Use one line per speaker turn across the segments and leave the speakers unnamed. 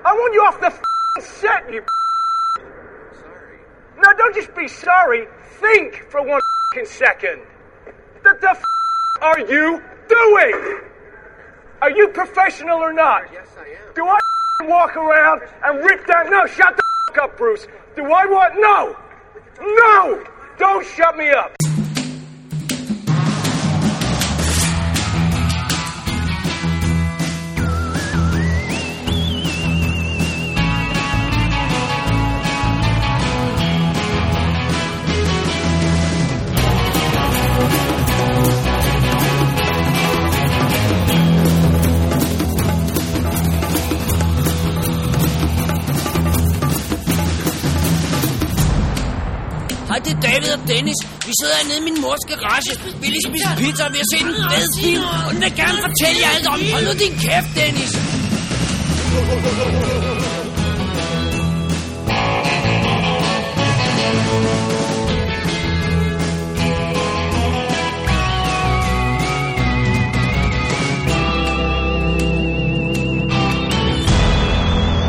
want you off the f***ing set, you.
Sorry.
No, don't just be sorry. Think for one f***ing second. What the f- are you doing? Are you professional or not?
Yes, I am.
Do I f***ing walk around and rip down? No, shut the f- up, Bruce. Do I want? No, no. Don't shut me up.
Hej, det er David og Dennis. Vi sidder nede i min mors garage. Vi lige spise pizza, og vi har set en fed film. Og den vil gerne fortælle jer alt om. Hold nu din kæft, Dennis.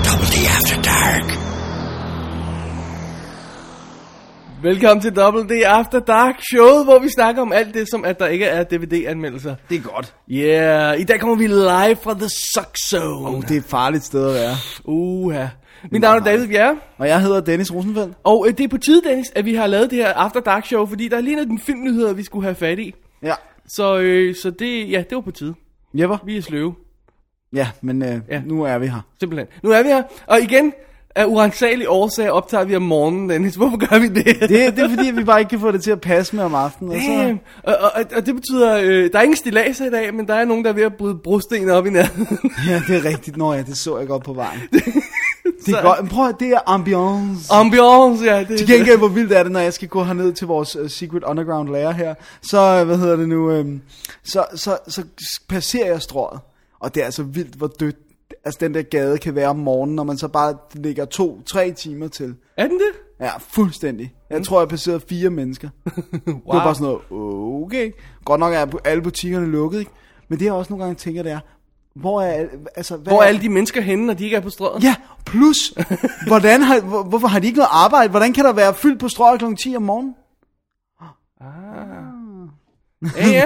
Double D After Dark.
Velkommen til Double D After Dark Show, hvor vi snakker om alt det, som at der ikke er DVD-anmeldelser.
Det er godt.
Yeah, i dag kommer vi live fra The Suck Zone.
Og det er et farligt sted at være.
Uha. Mit navn er David Bjerre,
Og jeg hedder Dennis Rosenfeldt.
og øh, det er på tide, Dennis, at vi har lavet det her After Dark Show, fordi der er lige noget den filmnyheder, vi skulle have fat i.
Ja.
Så, øh, så det, ja, det var på tide.
Jepper?
Vi er sløve,
Ja, men øh,
Ja.
ja. nu er vi her.
simpelthen. Nu er vi her, og igen, af urensagelige årsager optager vi om morgenen, Dennis. Hvorfor gør vi det?
Det, det er fordi, at vi bare ikke kan få det til at passe med om aftenen. Og så,
Damn. Og, og, og- og det betyder, øh, der er ingen stilladser i dag, men der er nogen, der er ved at bryde brosten op i nærheden.
ja, det er rigtigt. Nå ja, det så jeg godt på vejen. Det er godt. Men prøv at, det er ambiance.
Ambiance, ja. Det,
Til gengæld, hvor vildt er det, når jeg skal gå herned til vores uh, Secret Underground lærer her, så, øh, hvad hedder det nu, øhm, så, så, så passerer jeg strået, og det er altså vildt, hvor dødt, altså den der gade kan være om morgenen, når man så bare ligger to-tre timer til.
Er den det?
Ja, fuldstændig. Jeg tror, jeg passerede fire mennesker. Mm. wow. Det var bare sådan noget, okay. Godt nok er alle butikkerne lukket, ikke? Men det jeg også nogle gange tænker, det er, hvor er, al- altså, hvad
Hvor er alle de mennesker henne, når de ikke er på strøget?
Ja, plus, hvordan har, hvor, hvorfor har de ikke noget arbejde? Hvordan kan der være fyldt på strøget kl. 10 om morgenen?
ja. ja.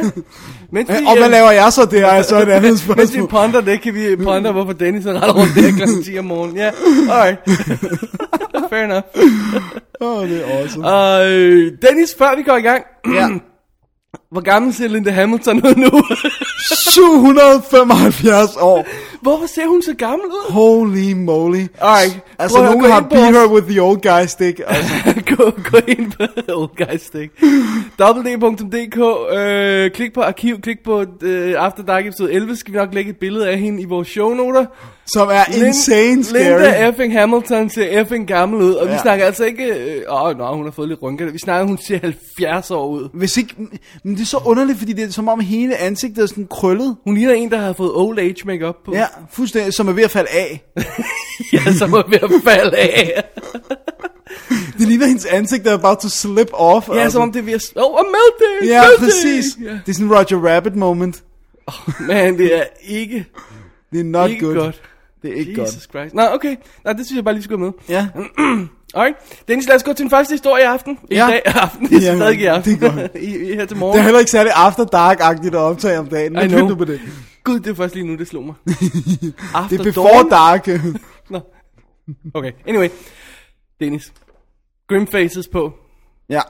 Mens vi,
Øh, Og hvad
øh,
laver jeg så? Det er så et andet
Mens vi
spørgsmål.
ponder det, kan vi ponder, hvorfor Dennis er ret rundt der kl. 10 om morgenen. Ja, alright. Fair enough.
Åh, det er awesome.
Og øh, Dennis, før vi går i gang,
Ja.
hvor gammel ser Linda Hamilton ud nu?
775 år.
hvorfor ser hun så gammel ud?
Holy moly.
Alright,
Altså,
prøv at
nogen
gå
har
ind på
beat
os.
her with the old guy stick. Altså,
gå, gå ind på Old Guys Day. www.dk øh, Klik på arkiv, klik på øh, After Dark episode 11 Skal vi nok lægge et billede af hende i vores shownoter
som er
Lin-
insane scary.
Linda effing Hamilton ser effing gammel ud Og ja. vi
Ja.
snakker altså ikke øh, Åh, nå, hun har fået lidt rynker Vi snakker, hun ser 70 år ud
Hvis ikke, men det er så underligt, fordi det er som om hele ansigtet er sådan krøllet.
Hun ligner en, der har fået old age makeup på
Ja, fuldstændig, som er ved at falde af.
ja så må vi ved at falde af
Det ligner hendes ansigt, der er about to slip off. Altså,
Ja, som om det er ved at Åh, oh, melting
Ja,
melting!
præcis.
ja.
Det er sådan en Roger Rabbit moment.
Man, det er ikke,
Det er not
ikke
good.
godt
Det er ikke
Jesus
godt.
Christ Nå, okay Nå, det synes jeg bare lige skulle med
Ja.
Alright. Dennis, lad os gå til den første historie i aften. I
Ja.
dag aften. Det er
Ja,
stadig i aften.
det er godt.
I, I, her til
Det er
morgen.
heller ikke særlig after dark-agtigt at optage om dagen.
I
Men
know.
du på det.
Gud, det er først lige nu, det slog mig. After
Det er before
dawn.
dark.
Nå. Okay, anyway. Dennis. Grim Faces på.
ja.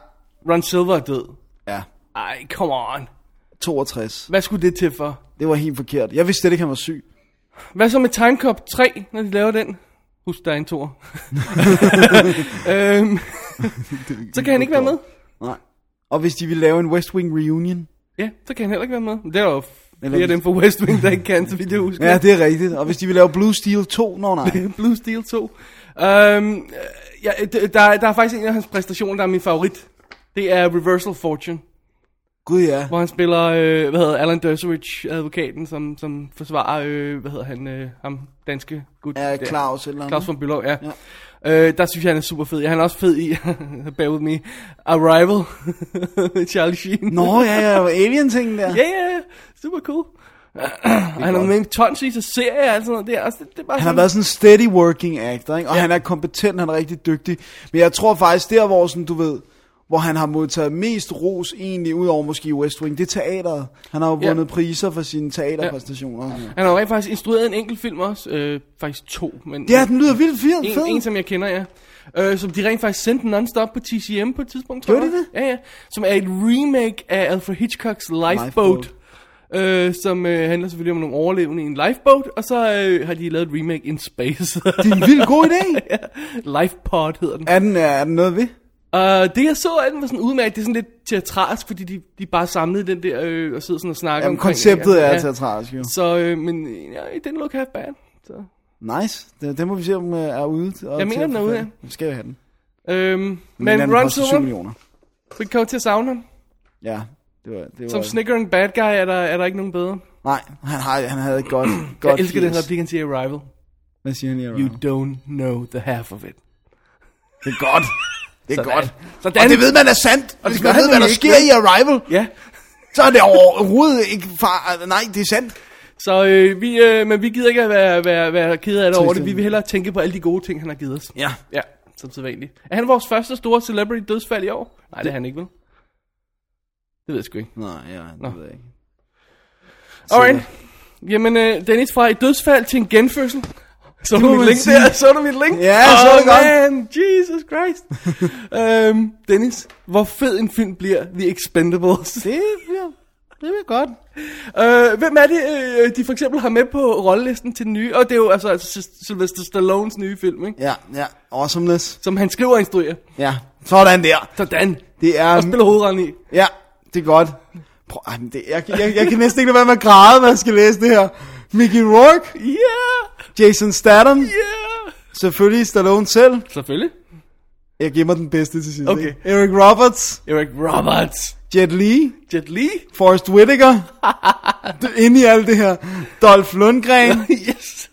Ron Silver er død.
Ja.
Ej, come on.
62.
Hvad skulle det til for?
Det var helt forkert. Jeg vidste slet ikke, han var syg.
Hvad så med Time Cop 3, når de laver den? Husk, der er en tor. øhm, så kan han ikke være med.
Nej. Og hvis de ville lave en West Wing reunion.
Ja, så kan han heller ikke være med. Det er jo flere
Eller
af
hvis-
dem fra West Wing, der ikke kan, så vidt jeg husker.
Ja, det er rigtigt. Og hvis de ville lave Blue Steel 2. Nå nej.
Blue Steel 2. Øhm, øh, ja, d- der, der er faktisk en af hans præstationer, der er min favorit. Det er Reversal Fortune,
Gud ja.
hvor han spiller, øh, hvad hedder Alan Dershowitz, advokaten, som, som forsvarer, øh, hvad hedder han, øh, ham danske gut.
Ja,
der.
Claus eller
Claus
andet.
von Bülow, ja. ja. Øh, der synes jeg, han er super fed. Ja, han er også fed i, bear with me, Arrival, Charlie Sheen.
Nå ja, ja. Alien-tingen der.
Ja, ja, ja. super cool. Han har været med i tonsvis af serier og alt sådan noget der. Altså, det, det er bare
Han har
sådan,
været sådan en steady working actor, ikke? og ja. han er kompetent, han er rigtig dygtig. Men jeg tror faktisk, der hvor sådan, du ved, hvor han har modtaget mest ros egentlig, udover måske i West Wing, det er teateret. Han har jo
Ja.
vundet priser for sine teaterpræstationer. Ja,
Han har jo rent faktisk instrueret en enkelt film også. Øh, faktisk to. Men,
ja den lyder vildt fed.
En,
fed.
en som jeg kender, ja. Øh, som de rent faktisk sendte non-stop på TCM på et tidspunkt, tror
Gjorde
jeg.
de det?
Ja, ja. Som er et remake af Alfred Hitchcocks Lifeboat.
Lifeboat.
Øh, som øh, handler selvfølgelig om nogle overlevende i en lifeboat, og så øh, har de lavet et remake in space.
Det er en vildt god idé.
ja, Lifepod hedder den.
Er den, er den noget ved?
Og Øh, det jeg så af den var sådan udmærket, det er sådan lidt teatralsk, fordi de, de bare samlede den der øh, og sidder sådan og snakker
Jamen,
omkring det.
konceptet er altså-
Ja.
teatralsk jo.
Så, øh, men ja, it didn't look half bad. Så.
Nice. Det, det må vi se, om den er ude.
Jeg
Og til
mener,
at
den er
få
ude,
fat i.
ja.
Vi skal jo have den.
Øhm,
Men
men
den
Ron
koster 7
Silver,
millioner.
vi kommer til at savne ham.
Ja, det var, det var
Som snickering bad guy er der, er der ikke nogen bedre.
Nej, han, har, han havde et godt, godt
Jeg elsker den
fjes.
replik, han siger i Arrival.
Hvad siger han lige?
You
Ron?
don't know the half of it.
Det er godt. Det er
Sådan.
godt.
Sådan.
Og det ved man er sandt. Og
det
hvis
gør
man ved,
han
hvad der
jo ikke,
sker i Arrival,
Ja,
så er det overhovedet ikke far... øh, Nej, det er sandt.
så øh, vi, øh, men vi gider ikke at være, være, være ked af det over det. Vi
Trist,
vil hellere tænke på alle de gode ting, han har givet os.
Ja.
Ja, som sædvanligt. Er han vores første store celebrity dødsfald i år? Nej, det er han ikke, vel? Det ved jeg sgu ikke.
Nej, ja, det
Nå.
ved jeg ikke.
Alright. Jamen, øh, Dennis, fra et dødsfald til en genfødsel. Så
må
du mit
man
link
sige.
der? Så du mit link?
Ja, så er det godt.
man, Jesus Christ. øhm, Dennis, hvor fed en film bliver The Expendables?
Det bliver, det bliver godt.
Øh, hvem er det, øh, de for eksempel har med på rollelisten til den nye? Og det er jo altså, altså Sy- Sylvester Stallones nye film, ikke?
Ja, ja. Awesomeness.
Som han skriver og instruerer.
Ja, sådan der.
Sådan.
Det er...
Og spiller hovedrollen i.
Ja, det er godt. Prøv, ej, men det, jeg, jeg, jeg kan næsten ikke lade være med at græde, når jeg skal læse det her. Mickey Rourke,
Ja! Yeah!
Jason Statham,
Ja! Yeah!
selvfølgelig Stallone selv.
Selvfølgelig.
Jeg giver mig den bedste til sidst.
Okay.
ikke? Eric Roberts,
Eric Roberts.
Jet Li,
Jet Li.
Forrest Whitaker. Det er Inde i alt det her. Dolph Lundgren,
yes.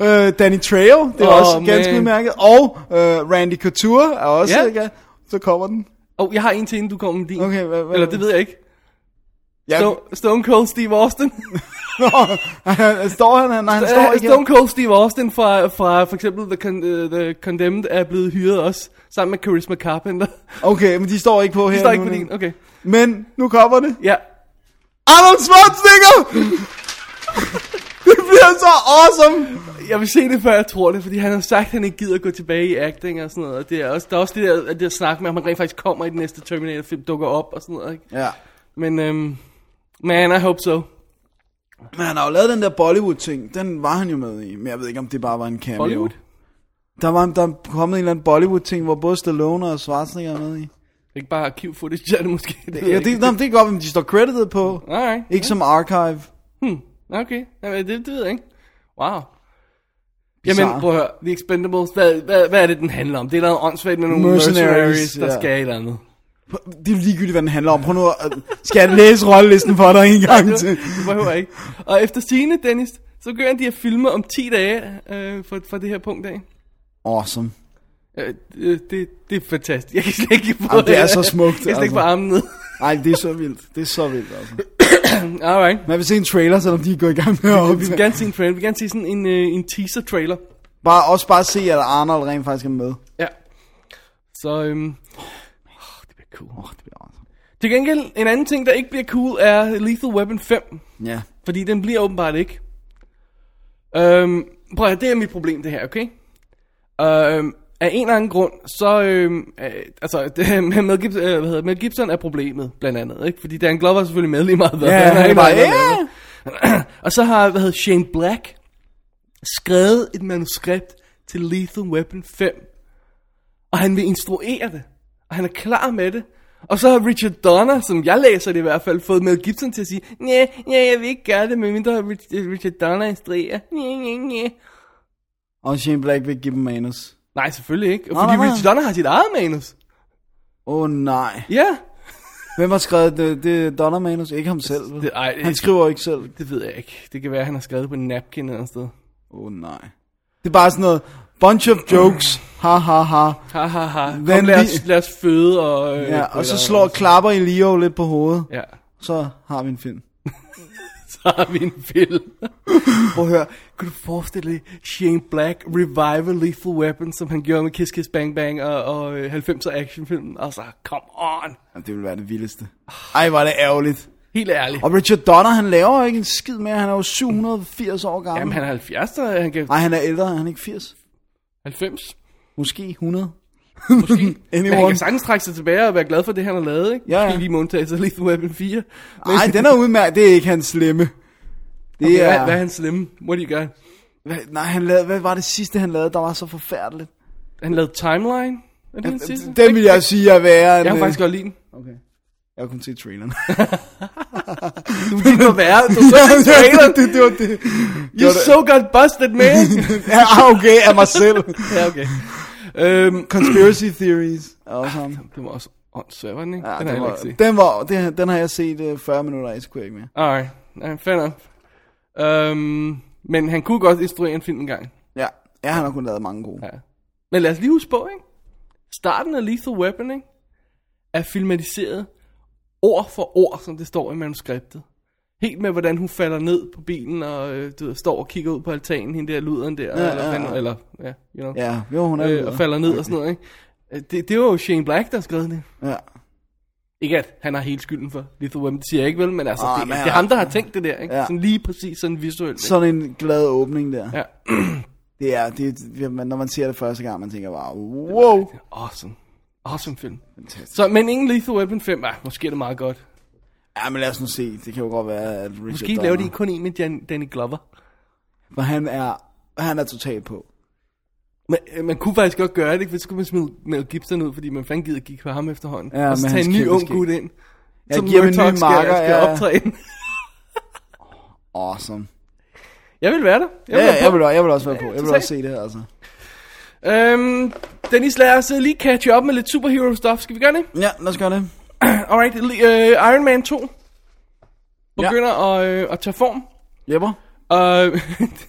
øh, Danny Trejo, det er
Åh,
oh, også ganske
man.
udmærket. Og øh, Randy Couture er også,
Ja.
yeah. ikke? Så kommer den.
Og oh, jeg har en til, inden du kommer med din.
Okay, hvad- hvad-
Eller det ved jeg ikke.
Ja,
Stone, Stone Cold Steve Austin.
står han? her? Nej, han står
Stone,
ikke
Øh, Stone
her.
Cold Steve Austin fra, fra for eksempel The, Con- uh, The Condemned er blevet hyret også. Sammen med Charisma Carpenter.
Okay, men de står ikke på her
Det står ikke
nu,
på
nu.
din. Okay.
Men nu kommer det.
Ja.
Arnold Schwarzenegger! det bliver så awesome!
Jeg vil se det, før jeg tror det, fordi han har sagt, at han ikke gider at gå tilbage i acting og sådan noget. Og det er også, der er også det der, det der snak med, om han rent faktisk kommer i den næste Terminator-film, dukker op og sådan noget. Ikke?
Ja.
Men, øhm, man, I hope so.
Men han har jo lavet den der Bollywood-ting. Den var han jo med i. Men jeg ved ikke, om det bare var en cameo.
Bollywood.
Der var der er kommet en eller anden Bollywood-ting, hvor både Stallone og Schwarzenegger er med i.
Ikke bare arkiv footage, er det måske. Det,
Ja, det, nej, det kan godt, være, men de står credited på.
Alright.
Ikke som archive.
Hmm, okay. Jamen, det, det ved jeg ikke. Wow. Jamen,
Bizarre.
prøv at høre. The Expendables, hvad, hvad, hvad er det, den handler om? Det er noget åndssvagt med nogle mercenaries,
Mercenaries,
mercenaries der
ja.
skal et eller andet.
Det er jo ligegyldigt, hvad den handler om. Prøv nu at... Skal jeg læse rollelisten for dig en gang til?
Det behøver jeg ikke. Og efter sine, Dennis, så gør de at filme om 10 dage øh, fra, fra det her punkt af.
Awesome.
Øh, det, det, det er fantastisk. Jeg kan slet ikke få
Jamen, det er så smukt,
Jeg kan slet ikke få
altså.
armen ned.
Ej, det er så vildt. Det er så vildt, altså.
Alright.
Man vil se en trailer, selvom de er gået i gang med at
Vi vil
optage.
gerne se en trailer. Vi vil gerne se sådan en, øh, en teaser-trailer.
Bare, også bare se, at Arnold rent faktisk er med.
Ja. Så, øhm, oh, det bliver cool.
Åh, det bliver awesome.
Til gengæld, en anden ting, der ikke bliver cool, er Lethal Weapon 5.
Ja.
Fordi den bliver åbenbart ikke. Øhm, prøv at høre, det er mit problem, det her, okay? Øhm, af en eller anden grund, så... Øhm, øh, altså, det, med Mel, Gibson, øh, hvad hedder, det, Mel Gibson er problemet, blandt andet, ikke? Fordi Dan Glover er selvfølgelig med lige meget. hvad-
Ja,
hvad
han er bare,
lavet. Og så har, hvad hedder Shane Black skrevet et manuskript til Lethal Weapon 5. Og han vil instruere det. Og han er klar med det. Og så har Richard Donner, som jeg læser det i hvert fald, fået Mel Gibson til at sige, nej, ja, jeg vil ikke gøre det, medmindre Rich- øh, Richard Donner instruerer. Næ, næ, næ.
Og Shane Black vil give dem manus.
Nej, selvfølgelig ikke. fordi
nej, nej.
Richard Donner har sit eget manus.
Åh, oh, nej.
Ja.
Hvem har skrevet det? Det er Donner manus. Ikke ham selv. vel?
Det, ej,
Han
det,
skriver ikke selv.
det ved jeg ikke. Det kan være, at han har skrevet det på en napkin eller andet sted.
Åh, oh, nej. Det er bare sådan noget... Bunch of jokes. Ha, ha, ha.
Ha, ha, ha. Kom,
Hvad
lad,
vi-
os, lad os føde og... øh,
Ja,
på
og
et
så
eller
slår
andet.
klapper i Leo lidt på hovedet.
Ja.
Så har vi en film.
har vi en film. Prøv at høre, kan du forestille dig Shane Black revive Lethal Weapon, som han gjorde med Kiss Kiss Bang Bang og, og øh, 90'er actionfilmen? Altså, come on.
Jamen, det ville være det vildeste. Ej, var det ærgerligt.
Helt ærligt.
Og Richard Donner, han laver ikke en skid mere. Han er jo 780 år gammel.
Jamen, han er 70, og han kan...
Nej, han er ældre. Er Han er ikke 80.
90.
Måske 100.
Måske. Men han
Anyone.
kan sagtens trække sig tilbage og være glad for det, han har lavet, ikke?
Ja, ja.
Måske Lige med undtagelse af Lethal Weapon 4. Men-
Nej, den er udmærket. Det er ikke hans slemme. Det
Hvad, hvad er
er...
hans slemme? What do you got?
Hvad, nej, han lavede, hvad var det sidste, han lavede, der var så forfærdeligt?
Han lavede Timeline? Er det den sidste?
Den vil jeg sige er værre end...
Jeg har faktisk
øh,
godt lide den.
Okay. Jeg kunne se traileren.
Du gik på værre, du så
Ja,
den trailer.
det, det, det var det.
You
det.
so got busted, man.
Ja, ah, okay, af mig selv.
ja, okay. Øhm,
Conspiracy theories. Ah, Og sådan.
det var også åndssvagt, var den ikke?
Ja,
Ah, den har
den,
jeg
var,
ikke set.
den, var, den, den har jeg set øh, 40 minutter af, så kunne jeg ikke mere.
Alright, ja, fair nok. Øhm, men han kunne godt instruere en film en gang.
Ja, ja han har kun lavet mange gode.
Ja. Men lad os lige huske på, ikke? Starten af Lethal Weapon, ikke? Er filmatiseret ord for ord, som det står i manuskriptet. Helt med, hvordan hun falder ned på bilen og øh, du ved, står og kigger ud på altanen, hende der luderen der, ja, eller,
ja,
ja,
ja.
eller ja, you know,
Ja, jo, hun er
øh, og falder ned og sådan noget, ikke? Øh, Det, det var jo Shane Black, der skrev det.
Ja.
Ikke at han har hele skylden for Lethal Weapon, det siger jeg ikke vel, men altså,
Ah,
det,
men
det
han-
er ham, der har tænkt det der, ikke?
Ja.
Sådan lige præcis sådan visuelt. ikke?
Sådan en glad åbning der.
Ja.
Det er, det, det, man- når man ser det første gang, man tænker bare, wow.
Awesome. Awesome film. Fantastisk. Så, men ingen Lethal Weapon 5, ah, måske er det meget godt.
Ja, men lad os nu se. Det kan jo godt være, at Richard
Måske
Donner,
laver de kun en med Jan, Danny Glover.
For han er, han er totalt på.
Man, øh, man kunne faktisk godt gøre det, ikke? for så kunne man smide Mel Gibson ud, fordi man fanden gider gik for ham efterhånden.
Ja,
og så
men
tage
hans
en ny
kæmpe
ung
skæg.
gut ind.
Jeg giver ham en ny
Murtaugh skal-
marker,
skal
ja.
optræde.
Awesome.
Jeg vil være der. Jeg
Ja,
vil
ja,
være
jeg,
på.
vil, jeg vil også være på. Jeg vil
totalt.
også se det her, altså.
Øhm, Dennis, lad os øh, lige catch op med lidt superhero stuff. Skal vi gøre det?
Ja, lad os gøre det.
Alright, li- øh, Iron Man 2 begynder at, øh, at tage form.
Jepper?
Og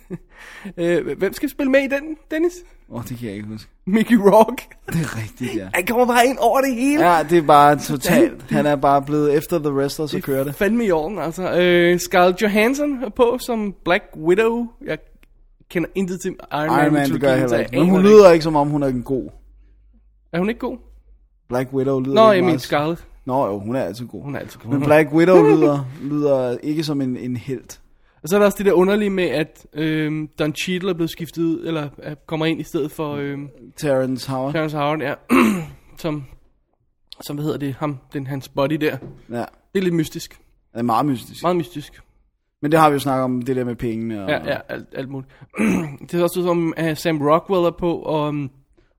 øh, hvem skal spille med i den, Dennis?
Åh, oh, det kan jeg ikke huske.
Mickey Rock.
Det er rigtigt, ja.
Han kommer bare ind over det hele.
Ja, det er bare totalt. Han er bare blevet efter The Wrestler, så kører det.
Fandme i orden, altså. Øh, Scarlett Johansson er på som Black Widow. Jeg kender intet til Iron,
Iron Man,
Man
det gør jeg heller ikke. Men hun
lyder...
lyder ikke, som om hun er en god.
Er hun ikke god?
Black Widow lyder
Nå,
ikke
jeg mener
meget-
Scarlett.
Nå, jo, hun er altid god.
Hun er altid god.
Men Black Widow lyder, lyder ikke som en, en held.
Og så er der også det der underlige med, at øhm, Don Cheadle er blevet skiftet ud, eller er, kommer ind i stedet for øhm,
Terrence Howard.
Terrence Howard, ja. som, som, hvad hedder det, ham, den, hans body der.
Ja.
Det er lidt mystisk.
Det er meget mystisk.
Meget mystisk.
Men det har vi jo snakket om, det der med pengene. Og...
Ja, ja, alt, alt muligt. det er også ud som, at Sam Rockwell er på, og... øhm,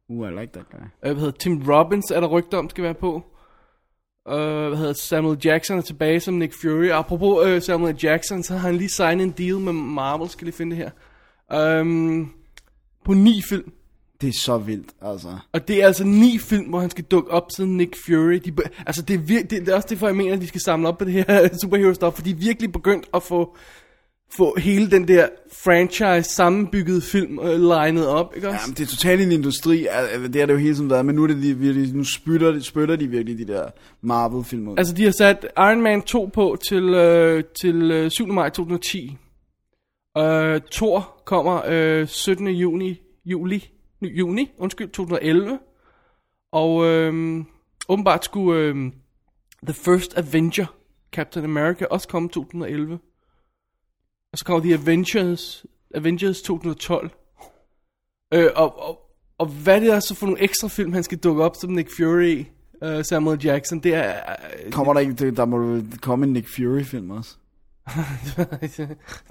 Uh, I like that guy.
Øh, hvad hedder Tim Robbins er der rygter om skal være på. Uh, hvad hedder Samuel Jackson er tilbage som Nick Fury. Apropos uh, Samuel Jackson, så har han lige signet en deal med Marvel, skal lige finde det her. Um, på ni film.
Det er så vildt, altså.
Og det er altså ni film, hvor han skal dukke op siden Nick Fury. De, be- altså det er, vir- det, det er også derfor, jeg mener, at vi skal samle op på det her superhero stuff, for de er virkelig begyndt at få, få hele den der franchise sammenbygget film øh, lined op, ikke også?
Jamen, det er totalt en industri, al- altså, det er det jo hele tiden været, men nu, er det lige, virkelig, nu spytter, de, spytter de virkelig de der Marvel-film ud. Altså,
Altså, de har sat Iron Man 2 på til, øh, til øh, 7. maj 2010. Øh, Thor kommer øh, 17. juni, juli, juni, undskyld, 2011. Og øh, åbenbart skulle øh, The First Avenger, Captain America, også komme 2011. Og så kommer The Avengers, Avengers 2012. Øh, og, og, og hvad det er så for nogle ekstra film, han skal dukke op som Nick Fury i, øh, Samuel Jackson, det er... øh,
Kommer der ikke, det- der må jo komme en Nick Fury-film også.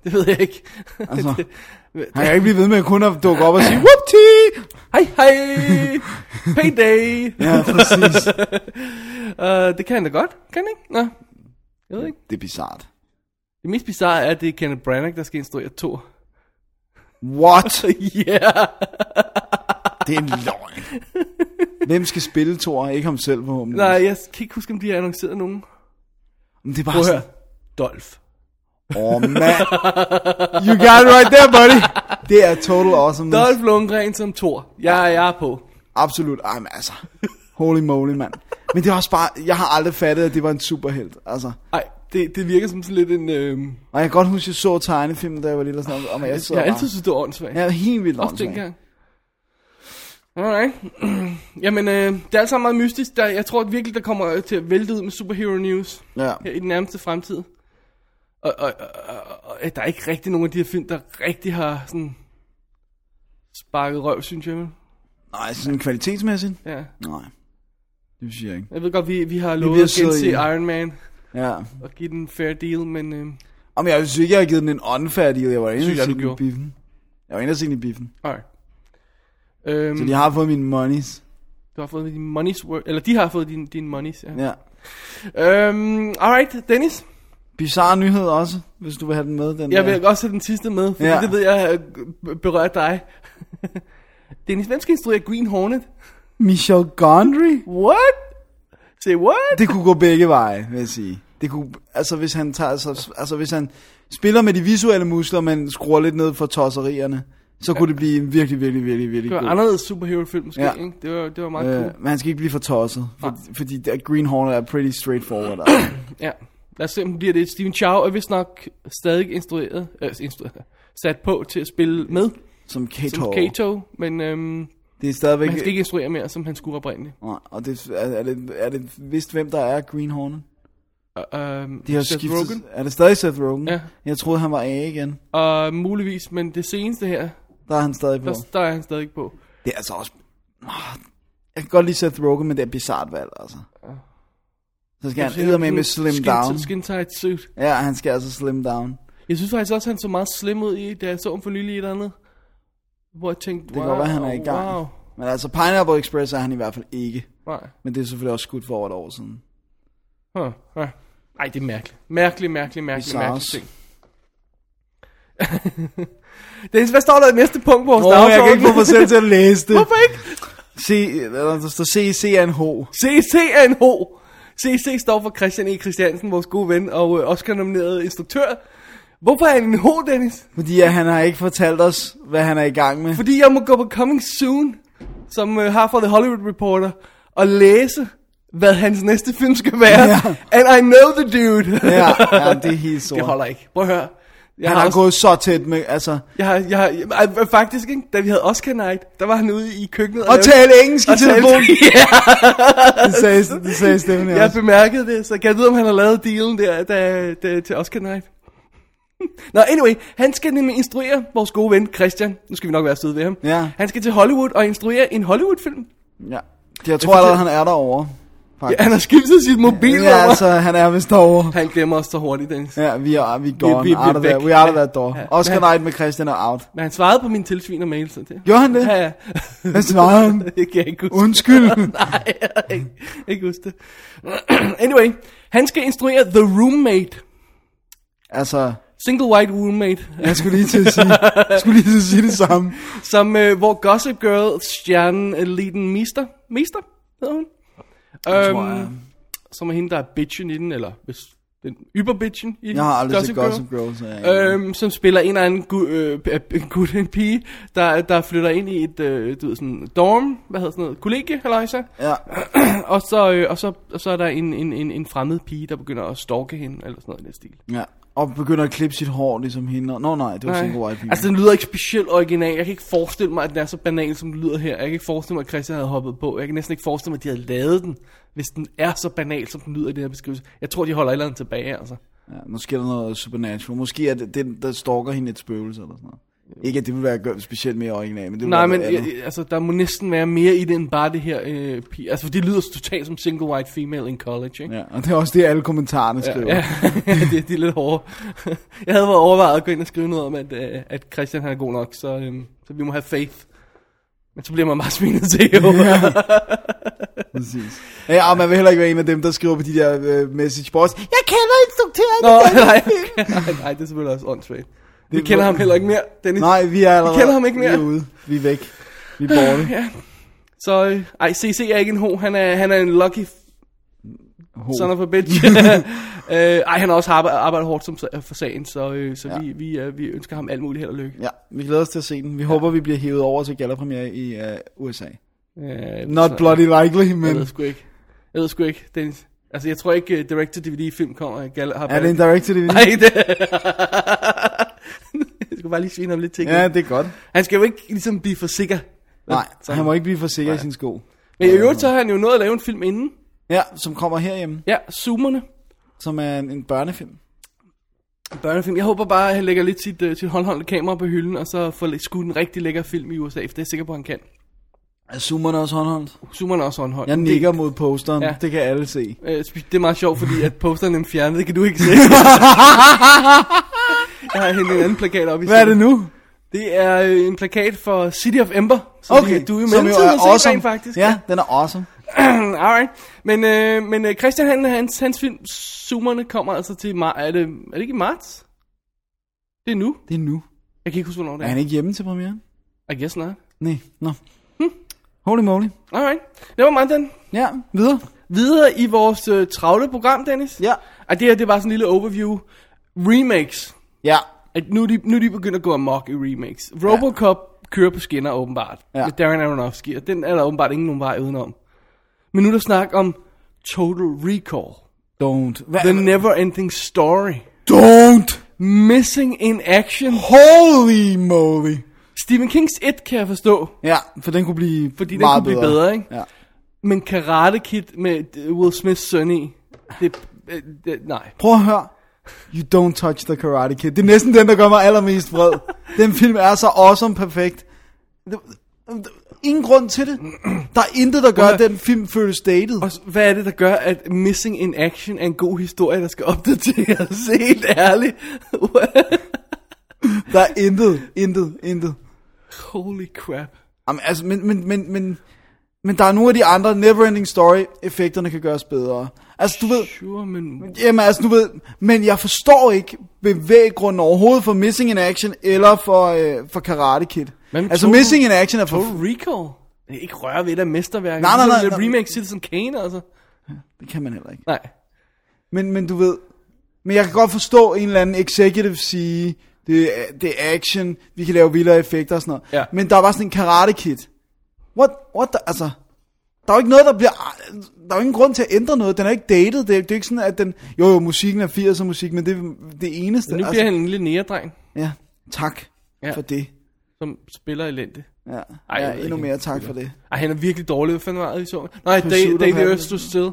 det ved jeg ikke.
Altså, Han kan ikke blive ved med kun at dukke op og sige, whoopty!
hej, hej! Payday!
Ja, præcis.
Uh, det kan han da godt, kan han ikke? Nå, jeg ved ikke.
Det er bizart.
Det mest bizarre er, at det er Kenneth Branagh, der skal instruere Thor.
What?
yeah!
Det er en løgn. Hvem skal spille Thor? Ikke ham selv, forhåbentlig.
Nej, jeg kan ikke huske, om de har annonceret nogen.
Men det er
Prøv
bare
at høre.
sådan,
Dolph.
åh oh, man. You got it right there, buddy. Det er total awesome.
Dolph Lundgren som Thor. Jeg, jeg er på.
Absolut. Ej, men altså. Holy moly, mand. Men det er også bare, jeg har aldrig fattet, at det var en superhelt. Altså,
Ej, Det, det virker som sådan lidt en... Øh,
Og jeg kan godt huske, at jeg så tegnefilmen, da jeg var lille og sådan noget, om, og jeg
jeg
sidder
har altid
bare...
synes, det var åndssvagt.
Jeg er helt vildt
Også
åndssvagt.
dengang. Alright. Jamen, øh, det er altså meget mystisk. Der, jeg tror at virkelig, der kommer til at vælte ud med superhero news
Ja.
her i den nærmeste fremtid. Og, og, og, og, og at der er ikke rigtig nogen af de her film, der rigtig har sådan sparket røv, synes jeg. vel?
Nej, sådan kvalitetsmæssigt?
Ja.
Nej. Det synes jeg ikke.
Jeg ved godt, vi, vi har
bliver
lovet at
siddet
gense
i-
Iron Man
Ja.
og give den en fair deal, men øh,
Om jeg synes ikke, jeg har givet den en unfair deal. Jeg var inde
Synes jeg,
og
du
se den i
gjorde.
biffen. Jeg var inde og se den i biffen.
alright. Øhm,
Så de har fået mine monies.
Du har fået din monies worth, eller de har fået din, din monies, ja.
Ja.
Øhm, alright, Dennis.
Bizarre nyhed også, hvis du vil have den med. Den
Jeg
der.
vil også have den sidste med, fordi
Ja.
ja. det ved jeg øh, berører dig. Dennis, hvem skal instruere Green Hornet?
Michel Gondry?
What? Say what?
Det kunne gå begge veje, vil jeg sige. Det kunne, altså, hvis han tager, altså, altså, hvis han spiller med de visuelle muskler, men skruer lidt ned for tosserierne, så kunne det blive en virkelig, virkelig, virkelig, virkelig
Det var
god.
anderledes superhero-film måske,
Ja.
ja. ikke? Det var, det var meget øh.
Øh,
cool.
men han skal ikke blive for tosset, for,
Nej.
fordi det- Green Hornet er pretty straightforward. altså.
Ja. Lad os se, om den bliver det. Steven Chow er vist nok stadig instrueret, øh, instrueret, sat på til at spille med
som Kato.
som Kato, men øhm,
Det er stadigvæk...
han skal ikke instruere mere, som han skulle oprindeligt.
Nej, og det, er, er, det, er det vist, hvem der er Green Hornet?
Og, øhm,
De har
Seth
skiftet...
Rogen.
Er det stadig Seth Rogen?
Ja.
Jeg troede, han var A igen.
Og muligvis, men det seneste her,
Der er han stadig på.
der, der er han stadig på.
Det er altså også... Ah, Jeg kan godt lide Seth Rogen, men det er et bizarrt valg, altså. Så skal han æder med med slim
skin,
down.
Skin tight suit.
Ja, han skal altså slim down.
Jeg synes faktisk også, han så meget slim ud i, da jeg så ham for nylig i et eller andet. Hvor jeg tænkte,
Det
wow,
kan godt være, han er i gang.
Wow.
Men altså, Pineapple Express er han i hvert fald ikke.
Nej.
Men det er selvfølgelig også skudt for over et år siden.
Huh. Huh. Ej, det er mærkeligt. Mærkelig, mærkelig, mærkelig,
Bizarre.
mærkelig ting. Dennis, hvad står der i næste punkt på vores
Åh, jeg kan ikke få mig
dagsorden?
selv til at læse det.
Hvorfor ikke?
C, eller der står CCNH.
CCNH. CC står for Christian E. Christiansen, vores gode ven og øh, Oscar-nomineret instruktør. Hvorfor er han en H, Dennis?
Fordi at han har ikke fortalt os, hvad han er i gang med.
Fordi jeg må gå på Coming Soon, som øh, har fra The Hollywood Reporter, og læse, hvad hans næste film skal være.
Ja.
And I know the dude.
Ja, ja det er helt sort.
det holder ikke. Prøv at høre. Jeg
Han
har,
har
også,
gået så tæt med, altså...
jeg har, jeg har, jeg, jeg, faktisk, ikke, da vi havde Oscar Night, der var han ude i køkkenet.
Og
lavede-
tale engelsk i
og talte-
telefonen.
ja,
Det sagde, det sagde stemmen her
jeg
også.
bemærkede det, så kan jeg vide, om han har lavet dealen der, da, da, til Oscar Night. Nå, anyway, han skal nemlig instruere vores gode ven Christian. Nu skal vi nok være søde ved ham.
Ja.
Han skal til Hollywood og instruere en Hollywood-film.
Ja. Jeg tror allerede, han er derovre.
Ja,
Faktisk.
han har skiftet sit mobilnummer.
Ja, altså, han er vist derovre.
Han glemmer os så hurtigt, Dennis.
Ja, vi er, vi er gone.
vi- vi
Vi, vi,
er
out of that,
væk.
we out of that door.
Ja.
Oscar
Men-
Night med Christian er out.
Men han svarede på min tilsvin og mail, så det.
Gjorde han det?
Ja, ja.
Hvad svarer han?
det kan jeg ikke huske.
Undskyld.
Nej, jeg kan ikke, ikke huske det. anyway, han skal instruere The Roommate.
altså,
Single White Roommate.
jeg skulle lige til at sige, jeg skulle lige til at sige det samme.
Som, øh, hvor Gossip Girl stjernen øh, Liden Mister. Mister, hedder hun. Øhm,
tror jeg.
Som er hende, der er bitchen i den, eller hvis den yberbitchen i
Jeg har aldrig set
Girl.
Gossip Girl, så jeg
Øhm, som spiller en eller anden gu- øh, øh, gut, en pige, der, der flytter ind i et, øh, du ved, sådan dorm, hvad hedder sådan noget, kollegie, halløjsa.
Ja,
Og så, øh, og så, og så er der en, en, en, en fremmed pige, der begynder at stalke hende, eller sådan noget i den stil.
ja. Og begynder at klippe sit hår, ligesom hende. Nå nej, det var sådan en god IP.
altså, den lyder ikke specielt original. Jeg kan ikke forestille mig, at den er så banal, som den lyder her. Jeg kan ikke forestille mig, at Christian havde hoppet på. Jeg kan næsten ikke forestille mig, at de havde lavet den, hvis den er så banal, som den lyder i den her beskrivelse. Jeg tror, de holder et eller andet tilbage, altså.
Ja, måske er der noget supernatural. Måske er det, den, der stalker hende et spøgelse eller sådan noget. Ikke at det ville være gø- specielt mere originalt, men det ville
Nej,
være
men
noget andet.
jeg, altså, der må næsten være mere i det end bare det her øh, pige. Altså, for det lyder totalt som single white female in college, ikke?
Ja, og det er også det, alle kommentarerne skriver.
ja. det, det er lidt hårdt. Jeg havde været overvejet at gå ind og skrive noget om, at, øh, at Christian han er god nok, så, øh, så vi må have faith. Men så bliver man bare svinet til, jo.
Præcis. Ja, og man vil heller ikke være en af dem, der skriver på de der øh, message boards. Jeg kender instruktøren.
Nå, nej, nej, nej, det er selvfølgelig også åndssvagt. Vi
Det-
kender ham heller ikke mere, Dennis.
Nej, vi er allerede.
kender ham ikke mere.
Vi er ude. Vi er væk. Vi er borte.
Så, øh, ej, CC er ikke en ho, han er, han er en lucky
Ho.
Son of a bitch. øh, ej, han har også arbejdet, arbejdet hårdt som, for sagen, så, øh, så ja.
Ja.
vi, vi, øh, vi ønsker ham alt muligt held og lykke.
Ja, vi glæder os til at se den. Vi ja. håber, vi bliver hævet over til gallapremiere i øh, USA.
Øh,
Not bloody likely,
Jeg
men
ved sgu ikke. Jeg ved sgu ikke, Dennis. Altså, jeg tror ikke, uh, Direct-to-DVD-film kommer. Gal- har
Er det en direct til det?
Nej, det... jeg skal bare lige svine ham lidt til.
Ja,
Ja.
det er godt.
Han skal jo ikke ligesom blive for sikker.
Nej,
Sådan.
han må ikke blive for sikker i sin sko.
Men i øvrigt, så har han jo nået at lave en film inden.
Ja, som kommer herhjemme,
Ja, Zoomerne.
som er en, en børnefilm.
En børnefilm. Jeg håber bare, at han lægger lidt sit, uh, sit håndholdte kamera på hylden, og så får lidt- skudt en rigtig lækker film i USA, for det er jeg sikker på, han kan.
Er Zoomerne også håndholdt?
Zoomerne er også håndholdt.
Jeg nikker mod posteren,
Ja.
ja. det kan alle se.
Det, øh, spe- det er meget sjovt, fordi at posteren er fjernet, det kan du ikke se. jeg har hængt en anden plakat op i
Hvad er det nu?
Det er øh, en plakat for City of Ember, som
Okay,
de- du er jo med til at se rent faktisk.
Ja, den er awesome.
Alright. Men, øh, men øh, Christian han, hans, hans film Zoomerne kommer altså til mar- er, det, er det ikke i marts? Det er nu.
Det er nu.
Jeg kan ikke huske, hvornår det
Er
er.
han ikke hjemme til premieren?
I guess not.
Nej, nå. Holy moly.
Alright. Det var meget den.
Ja, videre.
Videre i vores øh, travle program, Dennis.
Ja.
Og det her, det var sådan en lille overview. Remakes.
Ja.
At nu, er de, nu er de begyndt at gå amok i remakes. Robocop ja. kører på skinner åbenbart. Ja.
Ja.
Med Darren Aronofsky. Og den er der åbenbart ingen nogen vej udenom. Men nu er der snak om Total Recall.
Don't. Hva-
The Never Ending Story.
Don't.
Missing in Action.
Holy moly.
Stephen Kings 1 kan jeg forstå,
Ja, for den kunne blive
fordi den
meget
kunne blive
bedre.
bedre, ikke?
Ja.
Men Karate Kid med øh, Will Smiths søn i, det, øh, det, nej.
Prøv at høre. You don't touch the Karate Kid. Det er næsten den, der gør mig allermest vred. den film er så awesome perfekt. Ingen grund til det. Der er intet, der gør, at den film føles dated.
Og s- hvad er det, der gør, at Missing in Action er en god historie, der skal opdateres? Helt ærligt.
Der er intet, intet, intet.
Holy crap.
Jamen, altså, men, men, men, men, men der er nogle af de andre Neverending Story-effekterne kan gøres bedre. Altså, du ved...
Sure, men...
Jamen, altså, du ved... Men jeg forstår ikke bevæggrunden overhovedet for Missing in Action eller for, øh, for Karate Kid.
Hvad med
Altså,
Total-
Missing in Action er for...
Total Recall? Jeg kan Ikke røre ved et af mesterværket.
Nej, nej, nej,
Det er
nej.
remake Citizen Kane, altså.
Det kan man heller ikke.
Nej.
Men, men du ved... Men jeg kan godt forstå en eller anden executive sige, det er, det er action, vi kan lave vildere effekter og sådan noget.
Ja.
Men der var sådan en karate kid. What, what the, altså... Der er jo ikke noget, der bliver... Der er jo ingen grund til at ændre noget. Den er ikke dated. Det er, det er ikke sådan, at den... Jo, jo, musikken er 80'er musik, men det er det eneste. altså,
Men nu bliver han en lille næredreng,
Ja, tak
Ja.
ja. for det.
som spiller elendigt.
Ja,
Ej, jeg
ja
ved
endnu
ikke.
mere tak for det.
Ej, han er virkelig dårlig. Hvad fanden var det, vi så? Nej, Day,
Pursuit
Day
of
the Earth
Happiness.
stod still.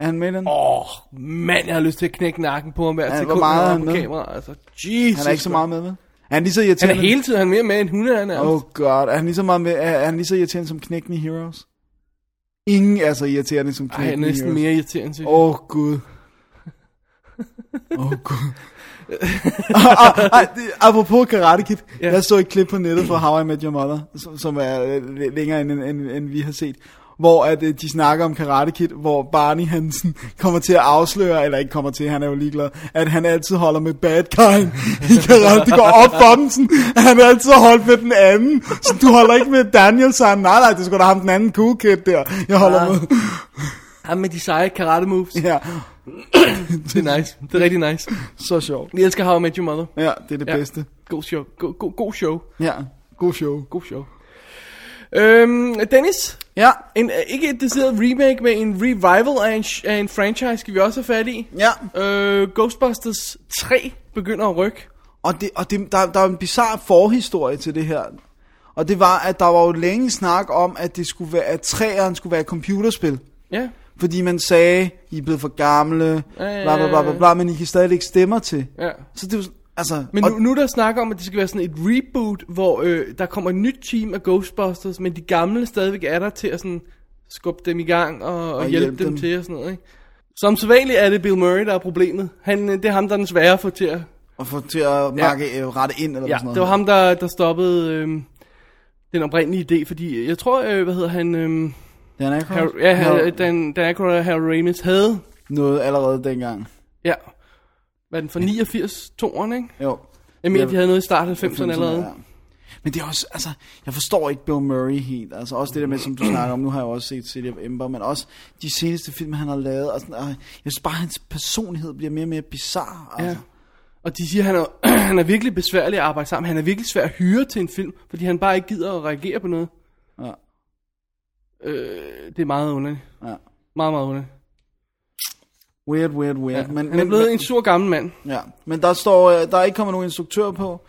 Er han med i den?
Åh, oh, mand, jeg har lyst til at knække nakken på ham hver
Ja,
sekund,
hvor
når
meget er
han
han
er på
med?
kamera. Altså, Jesus.
han er ikke så meget med, vel? Er han lige så irriterende?
Han er hele tiden han er mere med end hunde, han er.
Oh god, er han lige så, meget med, er, er han lige så irriterende som Knækken i Heroes? Ingen er så irriterende som
Ej, han er
Knækken i
næsten
Heroes.
mere irriterende, synes jeg.
Åh oh, gud. Åh oh, gud. Ah, ah, ah, det- Apropos Karate Kid,
Ja.
yeah. jeg så et klip på nettet fra How I Met Your Mother, som, som er øh, læ- længere end, end, end vi har set, hvor at, øh, de snakker om Karate Kid, hvor Barney Hansen kommer til at afsløre, eller ikke kommer til, han er jo ligeglad, at han altid holder med bad guy i Karate. Det går op for dem, sådan, at han altid har holdt med den anden. Så du holder ikke med Daniel, så han, nej nej, det skulle da ham den anden cool kid der, jeg holder
Ah.
med.
Ham med de seje karate moves.
Ja,
Det er nice. Det er rigtig nice.
så sjovt.
Jeg elsker How I Met Your Mother.
Ja, det er det
Ja.
ja. bedste.
God show. God, god, god show.
Ja, god show.
God show. Øhm, Dennis,
Ja,
en, øh, ikke et decideret remake, men en revival af en, sh- af en franchise, skal vi også have fat i.
ja.
Øh, Ghostbusters 3 begynder at rykke.
Og, det, og det, der, der er en bizarre forhistorie til det her. Og det var, at der var jo længe snak om, at det skulle være, at træeren skulle være et computerspil.
Ja.
Fordi man sagde, I er blevet for gamle,
ja,
bla bla bla bla, bla men I kan stadig ikke stemmer til.
Ja.
Så det var sådan- altså...
Men
og,
nu, nu er der snakker om, at det skal være sådan et reboot, hvor øh, der kommer et nyt team af Ghostbusters, men de gamle stadigvæk er der til at sådan skubbe dem i gang og, og, og hjælpe
hjælpe
dem, dem
dem.
til og sådan noget, ikke? Som sædvanligt er det Bill Murray, der er problemet. Han, øh, det er ham, der er den svære at få til at...
og få til at marke, ja. rette ind eller
Ja,
sådan noget.
det var ham, der, der stoppede øh, den oprindelige idé, fordi øh, jeg tror, øh, hvad hedder han... Øh,
Dan Aykroyd?
Har, ja,
Nå,
Har, Dan, Dan Aykroyd og Harold Ramis havde...
Noget allerede dengang.
Ja, hvad er den for 89 toeren, ikke?
Jo.
Jeg mener,
Ja,
de havde noget i starten af 90'erne
90'erne,
allerede.
ja. Men det er også, altså, jeg forstår ikke Bill Murray helt. Altså også det der med, som du snakker om, nu har jeg jo også set City of Ember, men også de seneste film, han har lavet. Og sådan, og jeg synes bare, hans personlighed bliver mere og mere bizarre. Altså.
Ja. Og de siger, at han er, han er virkelig besværlig at arbejde sammen. Han er virkelig svær at hyre til en film, fordi han bare ikke gider at reagere på noget.
Ja.
Øh, det er meget underligt.
Ja.
Meget, meget underligt.
Weird, weird, weird.
Ja, men, han er blevet
men,
en sur gammel mand.
Ja, men der står, øh, der er ikke kommet nogen instruktør på.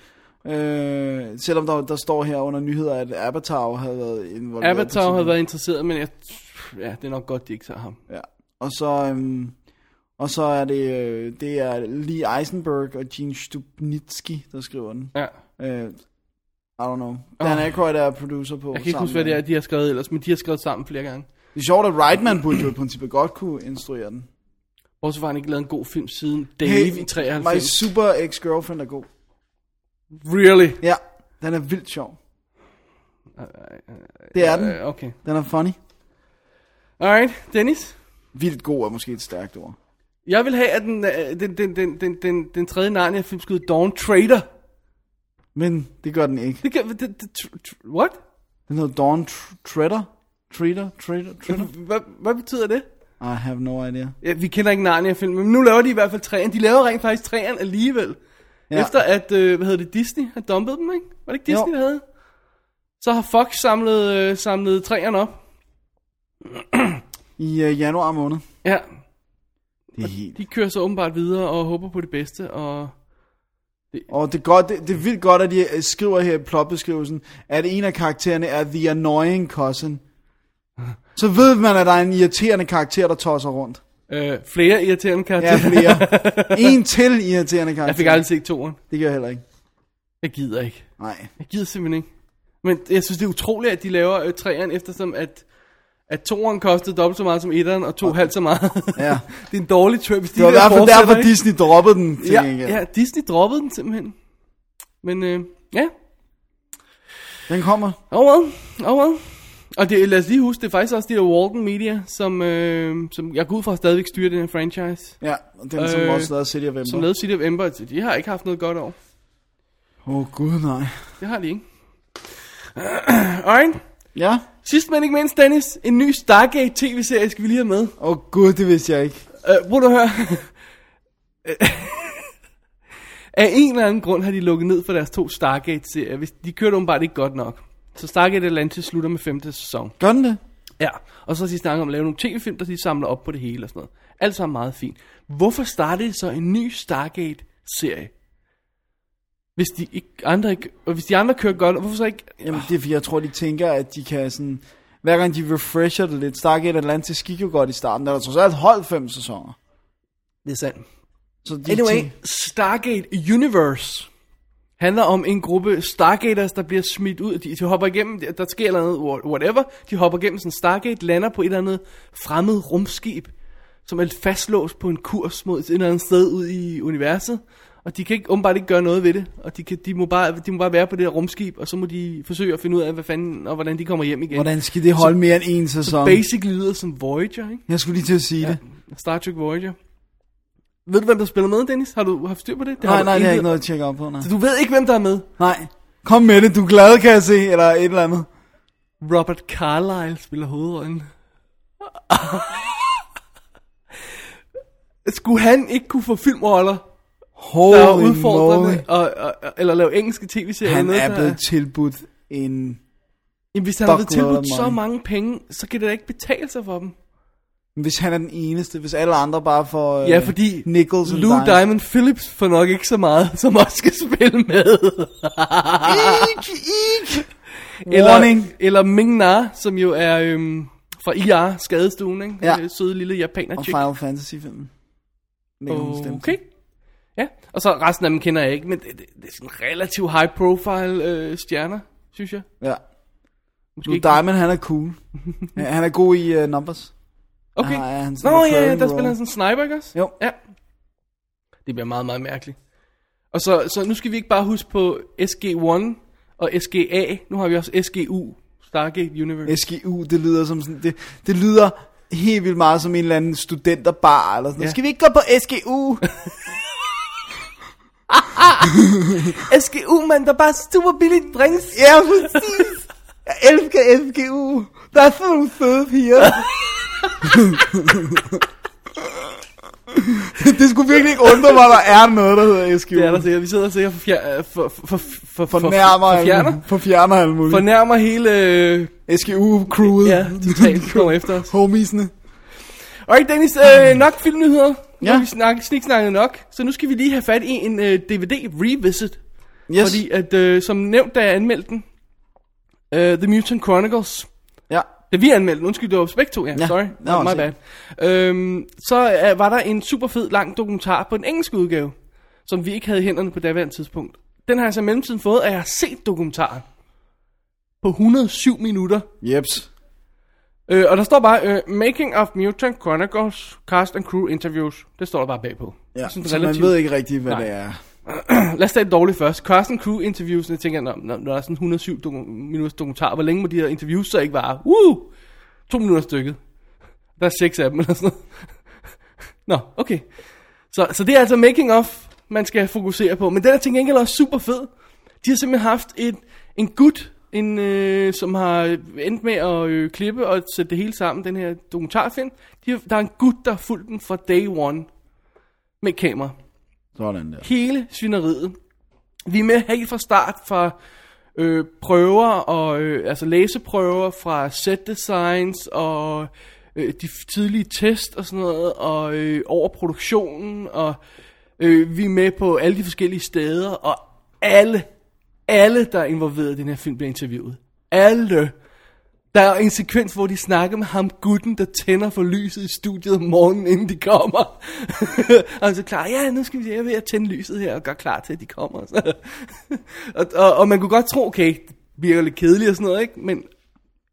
Øh, selvom der, der står her under nyheder, at Avatar havde været involveret. på
Avatar
tidspunkt.
havde været interesseret, men jeg, ja, det er nok godt, de ikke tager ham.
Ja. Og så, øhm, og så er det, øh, det er Lee Eisenberg og Gene Stupnitsky, der skriver den.
Ja.
Øh, I don't know. Dan Aykroyd er producer på.
Jeg kan ikke
sammen
huske, hvad det er,
med-
de har skrevet ellers, men de har skrevet sammen flere gange.
Det er sjovt, at Reitman burde jo i princippet godt kunne instruere den.
Bortset fra, at han ikke lavet en god film siden Dave i
My
93.
super ex-girlfriend er god.
Really?
Ja, den er vildt sjov. Det er den.
Øh, Okay.
Den er funny.
Alright, Dennis.
Vildt god er måske et stærkt ord.
Jeg vil have, at den, øh, den, den, den, den, den, den tredje Narnia-film skulle hedde Dawn Trader.
Men det gør den ikke.
Det kan... Det, det, tr- tr- what?
Den hedder Dawn Tr- Treader. Treader? Treader? Treader?
Hvad, hvad betyder det?
I have no idea.
Ja, vi kender ikke Narnia-film, men nu laver de i hvert fald træerne. De laver rent faktisk træerne alligevel. Ja.
Ja.
Efter at, øh, hvad hedder det, Disney har dumpet dem, ikke? Var det ikke Disney,
Jo.
der havde? Så har Fox samlet, øh, samlet træerne op.
I uh, januar måned.
Ja,
Det er helt...
de kører så åbenbart videre og håber på det bedste, og...
Og det er, godt, det, det er vildt godt, at de øh, skriver her i plotbeskrivelsen, at en af karaktererne er The Annoying Cousin. Så ved man, at der er en irriterende karakter, der tosser rundt.
Øh, flere irriterende
Ja,
karakterer.
flere. en til irriterende karakter.
jeg fik aldrig set toeren.
Det gør jeg heller ikke.
Jeg gider ikke.
Nej.
Jeg gider simpelthen ikke. Men jeg synes, det er utroligt, at de laver øh, træerne, eftersom at, at toeren kostede dobbelt så meget som etteren, og to okay. halvt så meget.
Ja.
det er en dårlig trip, hvis de
Det var i
der
hvert fald
fortsætter,
derfor,
ikke?
Disney droppede den. til gengæld.
ja, ja, Disney droppede den simpelthen. Men øh, ja,
Den kommer.
oh well, oh well. Og det, lad os lige huske, det er faktisk også de der Walton Media, som, øh, som jeg går ud fra stadigvæk styrer den her franchise.
Ja, og den som
Øh,
også lavede City of
Som
Ember.
lavede City of Empire, så de har ikke haft noget godt år.
Åh oh, gud, nej.
Det har de ikke. Alright.
Ja?
Sidst men ikke mindst, Dennis, en ny Stargate tv-serie skal vi lige have med.
Åh oh, gud, det vidste jeg ikke.
Uh, prøv at høre. Af en eller anden grund har de lukket ned for deres to Stargate-serier. Hvis- De kørte åbenbart ikke godt nok. Så Stargate Atlantis slutter med femte sæson.
Gør den det?
Ja. Og så har de snakket om at lave nogle tv-film, der de samler op på det hele og sådan noget. Alt sammen meget fint. Hvorfor startede de så en ny Stargate-serie? Hvis de, ikke, andre ikke, og hvis de andre kører godt, hvorfor så ikke...
Jamen, det er fordi, jeg tror, de tænker, at de kan sådan... Hver gang de refresher det lidt, Stargate Atlantis gik jo godt i starten, der var trods alt holdt fem sæsoner.
Det er sandt.
Så de
Anyway,
tænker-
Stargate Universe handler om en gruppe Stargaters, der bliver smidt ud. De, de hopper igennem, der der sker et eller andet, what- whatever. De hopper igennem sådan en Stargate, lander på et eller andet fremmed rumskib, som er fastlåst på en kurs mod et eller andet sted ud i universet. Og de kan ikke åbenbart ikke gøre noget ved det. Og de, kan, de, må bare, de må bare være på det der rumskib, og så må de forsøge at finde ud af, hvad fanden og hvordan de kommer hjem igen.
hvordan skal det holde mere end en sæson?
Basically lyder som Voyager, ikke?
Jeg skulle lige til at sige ja. det.
Star Trek Voyager. Ved du, hvem der spiller med, Dennis? Har du haft styr på det? det har
Nej,
du
nej, det er
intet-
ikke noget at tjekke op på, nej.
så du ved ikke, hvem der er med?
Nej. Kom med det, du er glad, kan jeg se, eller et eller andet.
Robert Carlyle spiller hovedrollen. Skulle han ikke kunne få filmroller, der er
Holy moly.
udfordrende, og, og, og, eller lave engelske tv-serier?
Han
eller noget,
er
der
blevet tilbudt en...
Jamen, hvis han har blevet
fuckload of
tilbudt så
money.
mange penge, så kan det da ikke betale sig for dem.
Hvis han er den eneste, hvis alle andre bare får... øh,
Ja, fordi
Nichols and
Lou Diamond.
Dimes.
Diamond Phillips får nok ikke så meget, som også skal spille med.
Ikke, ikke.
Eller,
Warning.
eller Ming Na, som jo er øhm, fra IR, skadestuen, ikke?
Ja.
Den, øh, Søde lille japaner
Og
chick.
Final Fantasy-filmen.
Okay. Ja, og så resten af dem kender jeg ikke, men det, det, det er sådan relativt high profile øh, stjerner, synes jeg.
Ja.
Måske
Blue
ikke-
Diamond, han er cool. ja, han er god i uh, Numbers.
Okay.
Ah, ja, han
Nå
spiller
ja, ja,
recurring
der spiller han
role.
sådan en sniper, ikke også?
Jo.
Ja. Det bliver meget, meget mærkeligt. Og så, så nu skal vi ikke bare huske på SG1 og SGA. Nu har vi også SGU, Stargate Universe.
SGU, det lyder som sådan... Det, det lyder helt vildt meget som en eller anden studenterbar eller sådan ja.
Ja.
Skal vi ikke gå på SGU?
SGU, mand, der bare super billigt drinks.
ja, præcis. Jeg elsker SGU. Der er sådan nogle fede piger. det skulle virkelig ikke undre mig, at der er noget, der hedder SGU.
Det er der sikkert. Vi sidder sikkert for, fjer- for, for, for, for, for,
Fornærmer,
for, fjerner.
alle- forfjerner alt muligt.
Fornærmer hele... Øh,
SGU-crewet.
ja, totalt kommer efter os.
Homiesne.
Alright, Dennis, øh, nok filmnyheder. Nu har
Mm. Ja.
vi snak, sniksnakket nok, så nu skal vi lige have fat i en uh, DVD-revisit.
Yes.
Fordi at, øh, som nævnt, da jeg anmeldte den, øh, The Mutant Chronicles,
Ja.
da vi anmeldte den, undskyld, det var os begge to, ja,
Ja.
ja. sorry,
Nå,
no, my
se.
bad. Øhm, så øh, var der en super fed lang dokumentar på den engelske udgave, som vi ikke havde i hænderne på daværende tidspunkt. Den har jeg så i mellemtiden fået, at jeg har set dokumentaren på 107 minutter.
Jeps.
Øh, og der står bare, øh, Making of Mutant Chronicles, Cast and Crew Interviews. Det står der bare bagpå.
Ja,
Sådan
så man
relativt-
ved ikke rigtigt, hvad
Nej.
det er.
Lad os tage det dårligt først. Carsten Crew interviews, jeg tænker, når, når der er sådan 107 doku- minutters dokumentar, hvor længe må de her interviews så ikke vare? Uh! To minutter stykket. Der er seks af dem eller sådan noget. Nå, okay. Så, så det er altså making of, man skal fokusere på. Men den er til gengæld også super fed. De har simpelthen haft et, en gut, en, øh, som har endt med at øh, klippe og sætte det hele sammen, den her dokumentarfilm. De har, der er en gut, der har fulgt den fra day one med kamera
Sådan der.
hele svineriet. Vi er med helt fra start fra øh, prøver og øh, altså læseprøver fra set designs og øh, de f- tidlige test og sådan noget og øh, over produktionen og øh, vi er med på alle de forskellige steder og alle alle der er involveret i den her film bliver interviewet. Alle. Der er en sekvens, hvor de snakker med ham gutten, der tænder for lyset i studiet om morgenen, inden de kommer. og så klar, ja, nu skal vi jeg er ved at tænde lyset her og gøre klar til, at de kommer. Så. og, og, og, man kunne godt tro, okay, det virker lidt kedeligt og sådan noget, ikke? Men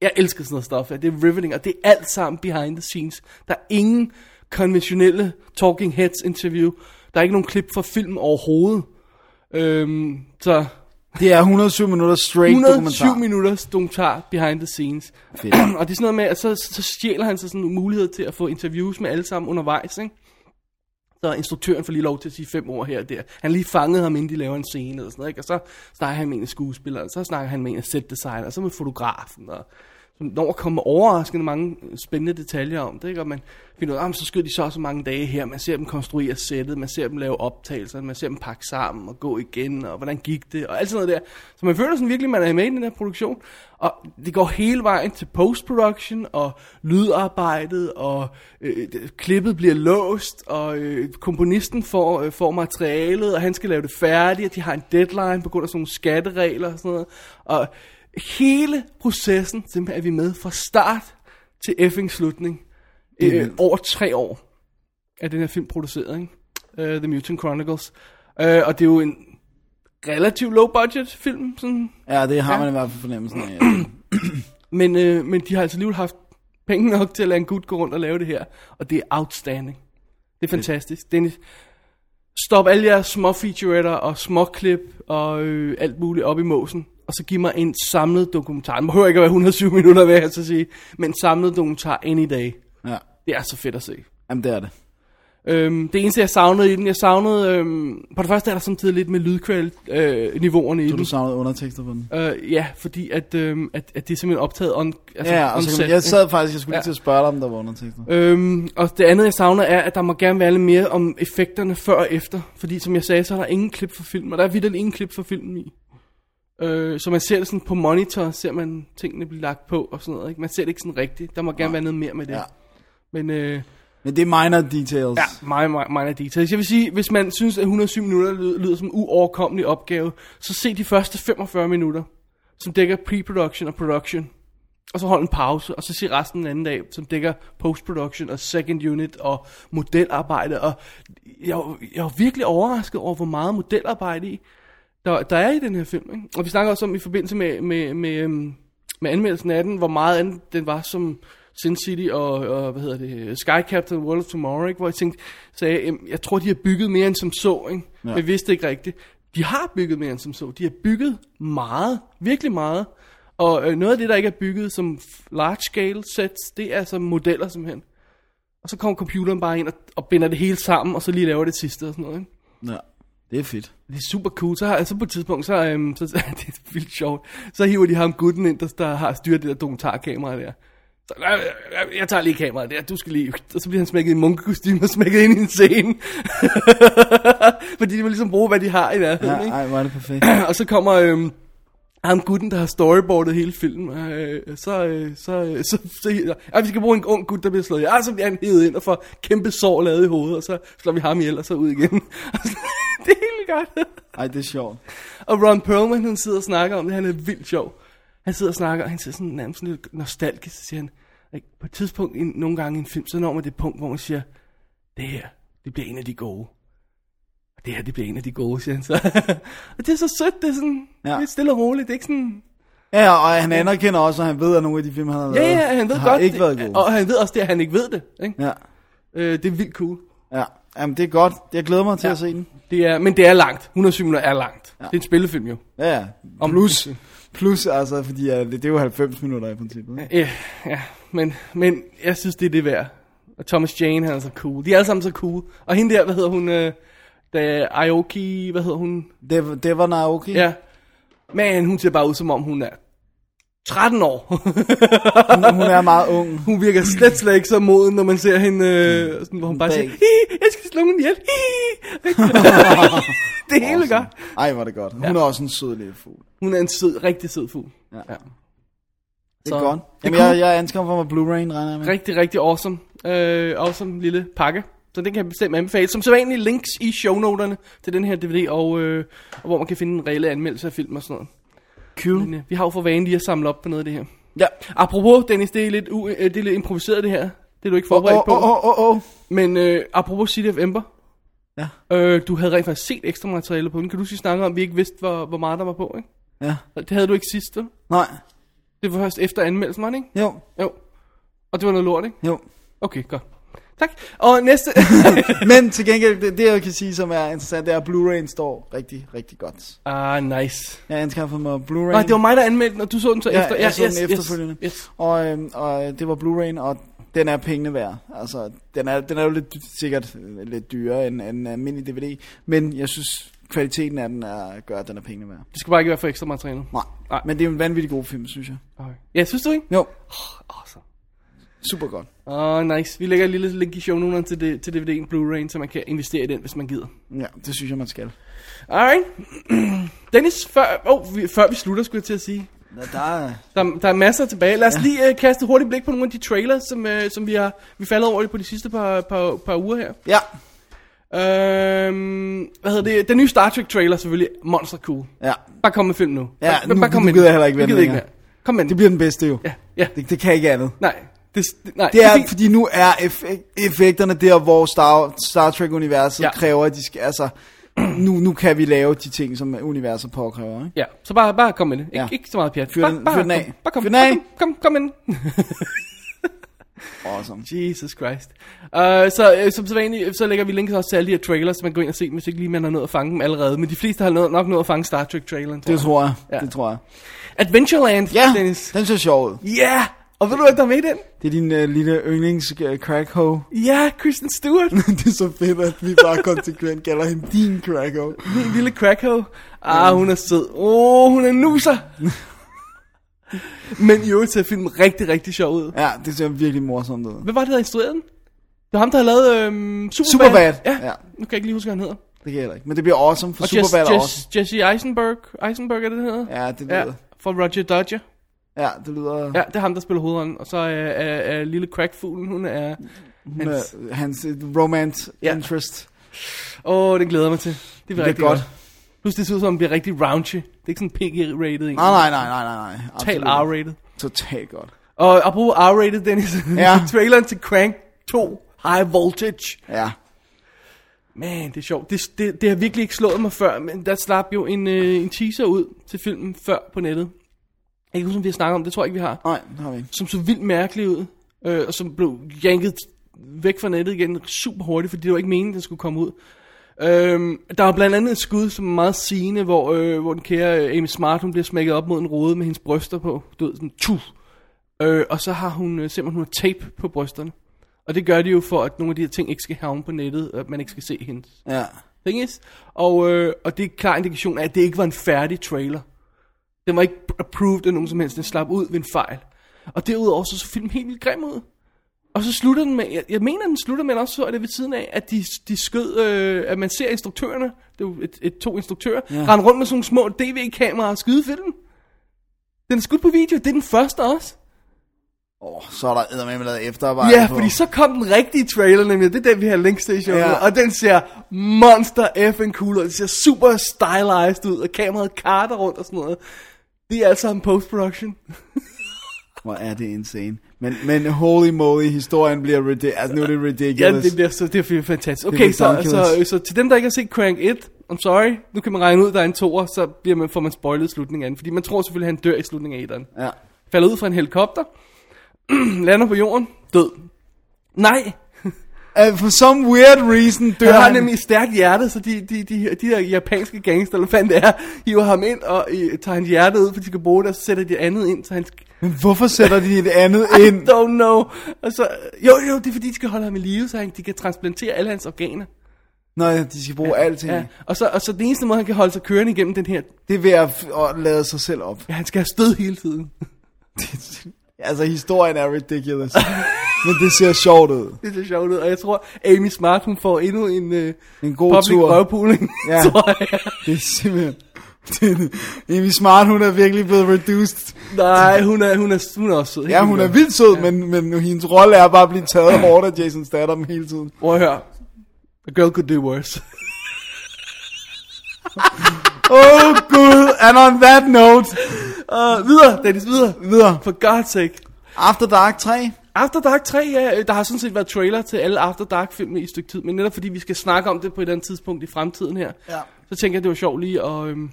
jeg elsker sådan noget stof, ja. det er riveting, og det er alt sammen behind the scenes. Der er ingen konventionelle talking heads interview. Der er ikke nogen klip fra film overhovedet. Øhm, så
Det er 107 minutter straight
107
dokumentar.
minutters dokumentar behind the scenes.
Fedt.
og det er sådan noget med, at så, så stjæler han sig sådan en mulighed til at få interviews med alle sammen undervejs, ikke? Så instruktøren får lige lov til at sige fem ord her og der. Han har lige fanget ham, inden de laver en scene eller sådan noget, ikke? Og så snakker han med en af skuespilleren, så snakker han med en af setdesigner, og så med fotografen, og så når at komme overraskende mange øh, spændende detaljer om det, ikke? Og man finder ud af, "Ah, men så skød de så og så mange dage her, man ser dem konstruere sættet, man ser dem lave optagelser, man ser dem pakke sammen og gå igen, og hvordan gik det, og alt sådan noget der. Så man føler sådan virkelig, man er med i den her produktion, og det går hele vejen til post-production, og lydarbejdet, og øh, det- klippet bliver låst, og øh, komponisten får, øh, får materialet, og han skal lave det færdigt, og de har en deadline på grund af sådan nogle skatteregler og sådan noget. Og hele processen, simpelthen er vi med fra start til effing slutning. Øh, over tre år er den her film produceret, ikke? Uh, The Mutant Chronicles. Uh, og det er jo en relativt low budget film, sådan
Ja, det har man i hvert fald fornemmelsen af.
men, øh, men de har altså alligevel haft penge nok til at lade en gut gå rundt og lave det her. Og det er outstanding. Det er fantastisk. Dennis, stop alle jeres små featuretter og små klip og øh, alt muligt op i måsen. Og så giv mig en samlet dokumentar. Den behøver ikke at være 107 minutter, vil jeg altså sige. Men en samlet dokumentar any day.
Ja,
Det er så fedt at se.
jamen det er det.
Øhm, det eneste, jeg savnede i den, jeg savnede... Øhm, på det første er der samtidig lidt med lydkvalitet-niveauerne i
Så du
den.
savnede undertekster på den.
Øh, ja, fordi at, øhm, at, at det er simpelthen optaget on, altså
Ja, og
on
så kan
set,
man, jeg
ikke?
sad faktisk, jeg skulle
Ja.
lige til at spørge dig, om der var undertekster.
Øhm, og det andet, jeg savner, er, at der må gerne være lidt mere om effekterne før og efter. Fordi, som jeg sagde, så er der ingen klip fra film, og der er vidt ingen klip fra filmen i. Øh, så man ser det sådan på monitor, ser man tingene blive lagt på og sådan noget. Ikke? Man ser det ikke sådan rigtigt. Der må gerne være noget mere med det.
Ja.
Ja. Men øh,
Men det er minor details.
ja, meget, meget, meget details. Jeg vil sige, hvis man synes, at 107 minutter lyder, lyder som en uoverkommelig opgave, så se de første 45 minutter, som dækker pre-production og production. Og så hold en pause, og så se resten en anden dag, som dækker post-production og second unit og modelarbejde. Og jeg, var- jeg var virkelig overrasket over, hvor meget modelarbejde i, der, der er i den her film. Ikke? Og vi snakker også om i forbindelse med, med, med, øhm, med anmeldelsen af den, hvor meget anden den var som Sin City og, og hvad hedder det, Sky Captain World of Tomorrow, ikke? hvor jeg tænkte, sagde, "Jamen, jeg tror, de har bygget mere end som så. Ikke? Ja. Men jeg vidste ikke rigtigt. De har bygget mere end som så. De har bygget meget, virkelig meget. Og øh, noget af det, der ikke er bygget som f- large scale sets, det er som modeller simpelthen. Og så kommer computeren bare ind og, og binder det hele sammen, og så lige laver det sidste og sådan noget. Ikke?
ja. Det er fedt.
Det er super cool. Så, har, så på et tidspunkt, så, øhm, så det er vildt sjovt. Så hiver de ham gutten ind, der, der har styret det der dokumentarkamera der. Så, "Øh, øh, jeg tager lige kameraet der, du skal lige... Og så bliver han smækket i en munkekostyme og smækket ind i en scene. Fordi de må ligesom bruge, hvad de har i nærheden,
Ja,
ikke?
ej, hvor er det perfekt.
og så kommer øhm, ham gutten, der har storyboardet hele filmen, øh, så, øh, så, øh, så, så, ja, vi skal bruge en ung gut, der bliver slået ihjel. Ja, så bliver han hævet ind og får kæmpe sår lavet i hovedet, og så slår vi ham ihjel og så ud igen. det er helt godt.
Ej, det er sjovt.
Og Ron Perlman, han sidder og snakker om det, han er vildt sjov. Han sidder og snakker, og han ser sådan nærmest sådan lidt nostalgisk, så siger han, ikke? på et tidspunkt, en, nogle gange i en film, så når man det punkt, hvor man siger, det her, det bliver en af de gode. Og det her, det bliver en af de gode, siger han så. og det er så sødt, det er sådan
Ja.
ja. lidt stille og roligt, det er ikke sådan,
Ja, og han anerkender også, at han ved, at nogle af de film, han har
ja,
lavet,
ja, han ved
har
godt,
ikke
det,
været gode.
og han ved også det, at han ikke ved det, ikke?
Ja,
Øh, det er vildt cool.
ja. Jamen, det er godt. Jeg glæder mig til ja. at se den.
Det er, men det er langt, 107 minutter er langt. Ja. Det er en spillefilm jo.
Ja, ja.
Om-
Plus, plus altså, fordi ja, det, det er jo 90 minutter i princippet. ikke?
Ja, ja men, men jeg synes, det er det værd. Og Thomas Jane, han er så cool. De er alle sammen så cool. Og hende der, hvad hedder hun? Øh, der Aoki, hvad hedder hun?
Det, det var Naoki.
Ja. Man, hun ser bare ud, som om hun er 13 år.
Hun, hun er meget ung.
hun virker slet, slet ikke så moden, når man ser hende, øh, sådan, hvor hun bare
Dag.
siger, "Hi, jeg skal slå hende ihjel. Hi." det er hele godt.
Ej, var det godt. Hun er også en sød lille fugl.
Hun er en sød, rigtig sød fugl.
Ja.
Ja.
Det
Så-
er godt.
Det er
Jamen, jeg, jeg anskaffer mig Blu-ray, regner jeg med.
Rigtig, rigtig awesome. Øh, awesome lille pakke. Så den kan jeg bestemt anbefale. Som sædvanligt links i shownoterne til den her DVD, og, øh, og hvor man kan finde en reelle anmeldelse af film og sådan noget.
Cool.
Men, øh, vi har jo for vane lige at samle op på noget af det her.
Ja.
Apropos, Dennis, det er lidt, u- øh, det er lidt improviseret det her. Det er du ikke
Åh,
forberedt
åh, åh,
på.
åh, åh, åh.
Men øh, apropos City of Ember.
Ja.
Øh, du havde rent faktisk set ekstra materiale på den. Kan du sige snakke om, at vi ikke vidste, hvor, hvor meget der var på, ikke?
Ja.
Det havde du ikke sidst, vel?
Nej.
Det var først efter anmeldelsen, var det ikke?
Jo,
Jo. Og det var noget lort, ikke?
jo.
Okay, godt. Tak. Og næste...
Men til gengæld, det, det jeg kan sige, som er interessant, det er, at Blu-ray'en står rigtig, rigtig godt.
ah, nice.
Jeg anskaffede mig Blu-ray.
Nej, det var mig, der anmeldte den, og du så den så
Ja,
efter.
jeg så den efterfølgende.
Yes, yes.
Og, øhm, og øh, det var Blu-ray'en, og den er pengene værd. Altså, den er, den er jo lidt, dy- sikkert øh, lidt dyrere end øh, en almindelig DVD, men jeg synes, kvaliteten af den er, gør, at den er pengene værd.
Det skal bare ikke være for ekstra materiale.
Nej.
Nej.
Men det er en vanvittig god film, synes jeg.
Okay. Ja, synes du ikke?
Jo,
Awesome.
super godt.
Åh, oh, nice. Vi lægger et lille link i shownoterne til, det, til DVD'en Blu-ray, så man kan investere i den, hvis man gider.
Ja, det synes jeg, man skal.
Alright. Dennis, før, oh, vi, før vi slutter, skulle jeg til at sige.
Nå, der er...
Der, der er masser tilbage. Lad os ja. lige uh, kaste et hurtigt blik på nogle af de trailers, som, uh, som vi har vi faldet over på de sidste par, par, par uger her.
Ja,
Øhm, hvad hedder det? Den nye Star Trek trailer selvfølgelig. Monster cool.
ja.
Bare kom med film nu.
Ja,
bare,
nu-
bare kom
nu
med
gider
den.
jeg heller ikke
Nu
vente
gider jeg ikke
længere.
mere. Kom med
Det
den.
bliver den bedste jo.
Ja, ja.
Det, det kan ikke andet.
Nej, det, det- nej.
Det er,
fordi-
fordi nu er eff- effekterne der, hvor Star, Star Trek-universet ja.
Ja.
kræver, at de skal, altså, nu, nu kan vi lave de ting, som universet påkræver, ikke?
Ja, så bare, bare kom med det. Ikke,
Ja.
ja. ikke så meget pjat.
Fyr den-
bare, bare,
fyr den af.
Kom, bare kom,
Fyr den
bare
af.
kom, kom, kom med den.
Awesome.
Jesus Christ. Uh, så øh, som sædvanligt, så lægger vi links også til alle de her trailers, så man går ind og ser dem, hvis ikke lige man har nået at fange dem allerede. Men de fleste har nået, nok nået at fange Star Trek-traileren.
Det tror jeg, ja.
Ja.
det tror jeg.
Adventureland,
Ja,
Dennis.
den ser sjov ud.
Ja, yeah! og ved du, hvad der er med i den?
Det er din uh, lille yndlings uh, crack hoe.
Ja, yeah, Kristen Stewart.
det er så fedt, at vi bare konsekvent kalder hende din crack hoe.
Min lille crackhoe. Ah, hun er sød. Åh, oh, hun er en nuser. Men i øvrigt ser filmen rigtig, rigtig sjov ud.
Ja, det ser virkelig morsomt ud.
Hvad var det, der havde instrueret den? Det var ham, der havde lavet øhm, Superbad.
Superbad,
Ja.
ja.
ja. Nu kan jeg ikke lige huske, hvad han hedder.
Det kan jeg heller ikke. Men det bliver awesome, for Superbad er awesome.
Jesse Eisenberg. Eisenberg er det, den hedder?
Ja, det lyder. Ja.
Fra Roger Dodger.
ja, det lyder... Ja.
Ja, det er ham, der spiller hovedrollen. Og så er, er, er lille crackfuglen, hun er...
Med,
Hans.
hans øh, romance
Ja.
interest.
Åh, oh, den glæder jeg mig til. Det bliver
Det
rigtig
er godt.
godt. Plus, det ser ud som, om den bliver rigtig raunchy. Det er ikke sådan PG-rated.
Nej, nej, nej, nej, nej, nej.
Total
Absolut.
R-rated.
Totalt godt.
Og apropos R-rated, Dennis.
Ja.
traileren til Crank 2 High Voltage.
Ja.
Man, det er sjovt. Det, det, det har virkelig ikke slået mig før, men der slap jo en, øh, en teaser ud til filmen før på nettet. Jeg kan ikke huske, om vi har snakket om det. Det tror jeg ikke, vi har.
Nej, det har vi ikke.
Som så vildt mærkelig ud, øh, og som blev janket væk fra nettet igen super hurtigt, fordi det var ikke meningen, den skulle komme ud. Øhm, der var blandt andet et skud, som er meget sigende, hvor, øh, hvor den kære øh, Amy Smart, hun bliver smækket op mod en rode med hendes bryster på. Du ved, sådan, tuff. Øh, og så har hun øh, simpelthen hun har tape på brysterne. Og det gør de jo for, at nogle af de her ting ikke skal havne på nettet, og at man ikke skal se hendes
Ja.
Thing is. Og, øh, og det er en klar indikation af, at det ikke var en færdig trailer. Den var ikke approved af nogen som helst. Den slap ud ved en fejl. Og derudover så, så filmen helt vildt grim ud. Og så slutter den med, jeg, jeg mener den slutter med, også så er det ved siden af, at de, de skød, øh, at man ser instruktørerne, det er jo et, et, to instruktører, ja. rende rundt med sådan nogle små DV-kameraer og skyde filmen. Den er skudt på video, det er den første også.
Åh, oh, så er der eddermame lavet efterarbejde
Ja,
på.
fordi så kom den rigtige trailer nemlig, det er den, vi har links til i showet,
Ja.
ja. og den ser monster effing cool ud, den ser super stylized ud, og kameraet karter rundt og sådan noget. Det er altså en post-production.
Hvor er det insane. Men, men holy moly, historien bliver ridiculous. Altså, nu er det
Ja,
ridiculous.
det bliver, så, det bliver fantastisk. Okay,
bliver
så, så,
ridiculous.
så, til dem, der ikke har set Crank 1, I'm sorry, nu kan man regne ud, der er en toer, så bliver man, får man spoilet slutningen af den, fordi man tror selvfølgelig, han dør i slutningen af 1'eren.
Ja.
falder ud fra en helikopter, lander på jorden, død. Nej,
Uh, for some weird reason dør
det har nemlig et stærkt hjerte, så de, de, de, de der japanske gangster, eller hvad fanden det er, hiver ham ind og øh, tager hans hjerte ud, for de skal bruge det, og så sætter de andet ind, så han... sk-
Men hvorfor sætter de et andet ind?
I don't know. Og så, jo, jo, det er fordi, de skal holde ham i live, så han, de kan transplantere alle hans organer.
Nå, ja, de skal bruge alting.
Ja. Og, så, og så den eneste måde, han kan holde sig kørende igennem den her,
Det er ved at, f- at lade sig selv op.
ja, han skal have stød hele tiden.
Altså, historien er ridiculous. men det ser sjovt ud.
Det ser sjovt ud, og jeg tror, Amy Smart, hun får endnu en, øh,
En god
public
tur.
røvpuling,
Ja.
tror jeg.
Det er simpelthen... Amy Smart, hun er virkelig blevet reduced.
Nej, hun er, hun er, hun er også sød.
Ja, hun er vildt sød, ja. men, men hendes rolle er bare at blive taget hårdt af Jason Statham hele tiden.
Prøv at høre. A girl could do worse.
Oh gud, and on that note,
Uh, videre, Dennis, videre.
videre.
For god's sake.
After Dark 3.
After Dark 3, ja, øh, der har sådan set været trailer til alle After Dark filmene i et stykke tid, men netop fordi vi skal snakke om det på et eller andet tidspunkt i fremtiden her,
Ja.
så tænker jeg, det var sjovt lige at... Øhm,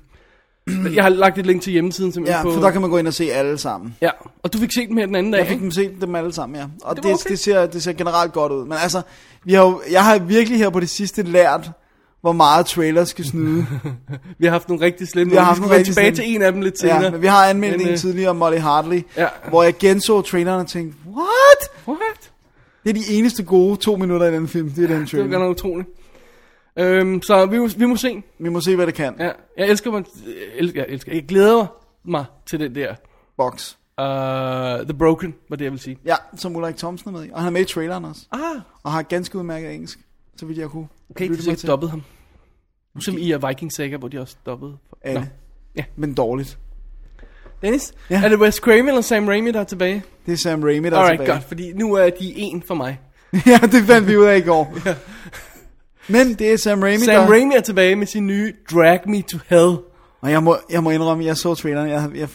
jeg har lagt et link til hjemmesiden
Ja,
simpelthen på...
for der kan man gå ind og se alle sammen.
Ja, og du fik set dem her den anden dag,
Jeg fik
ikke?
dem set dem alle sammen, ja. Og det,
Det var
det,
okay.
det, ser, det ser generelt godt ud. Men altså, vi har jo, jeg har virkelig her på det sidste lært, hvor meget trailers skal snyde.
Vi har haft nogle rigtig slemme,
Vi har
nogle. vi skal
haft nogle
vende
rigtig
tilbage
slemme.
til en af dem lidt senere.
ja, men vi har anmeldt
Men,
en
øh,
tidligere, Molly Hartley,
ja.
hvor jeg genså traileren og tænkte, what?
What?
Det er de eneste gode to minutter i den film, det er den
Det var godt
trailer.
nok utroligt. Øhm, så vi, må- vi må se.
Vi må se, hvad det kan.
Ja, jeg elsker mig, jeg elsker, jeg elsker, jeg glæder mig til den der,
Box.
uh, The Broken, var det jeg vil sige.
Ja, som Ulrik Thomsen er med i. Og han er med i traileren også.
Ah,
Og har ganske udmærket engelsk, så vidt jeg kunne.
okay,
lytte
de
mig
har dobbet ham. Som i er Viking Saga, hvor de også dobbede.
Alle.
Ja.
Men dårligt.
Dennis,
Ja.
ja. er det Wes Craven eller Sam Raimi, der er tilbage?
Det er Sam Raimi, der er
Alright,
tilbage.
godt, fordi nu er de en for mig.
ja, det fandt vi ud af i går. Men det er Sam Raimi,
Sam
der...
Raimi er tilbage med sin nye Drag Me To Hell.
Og jeg må, jeg må indrømme, jeg så traileren, jeg, jeg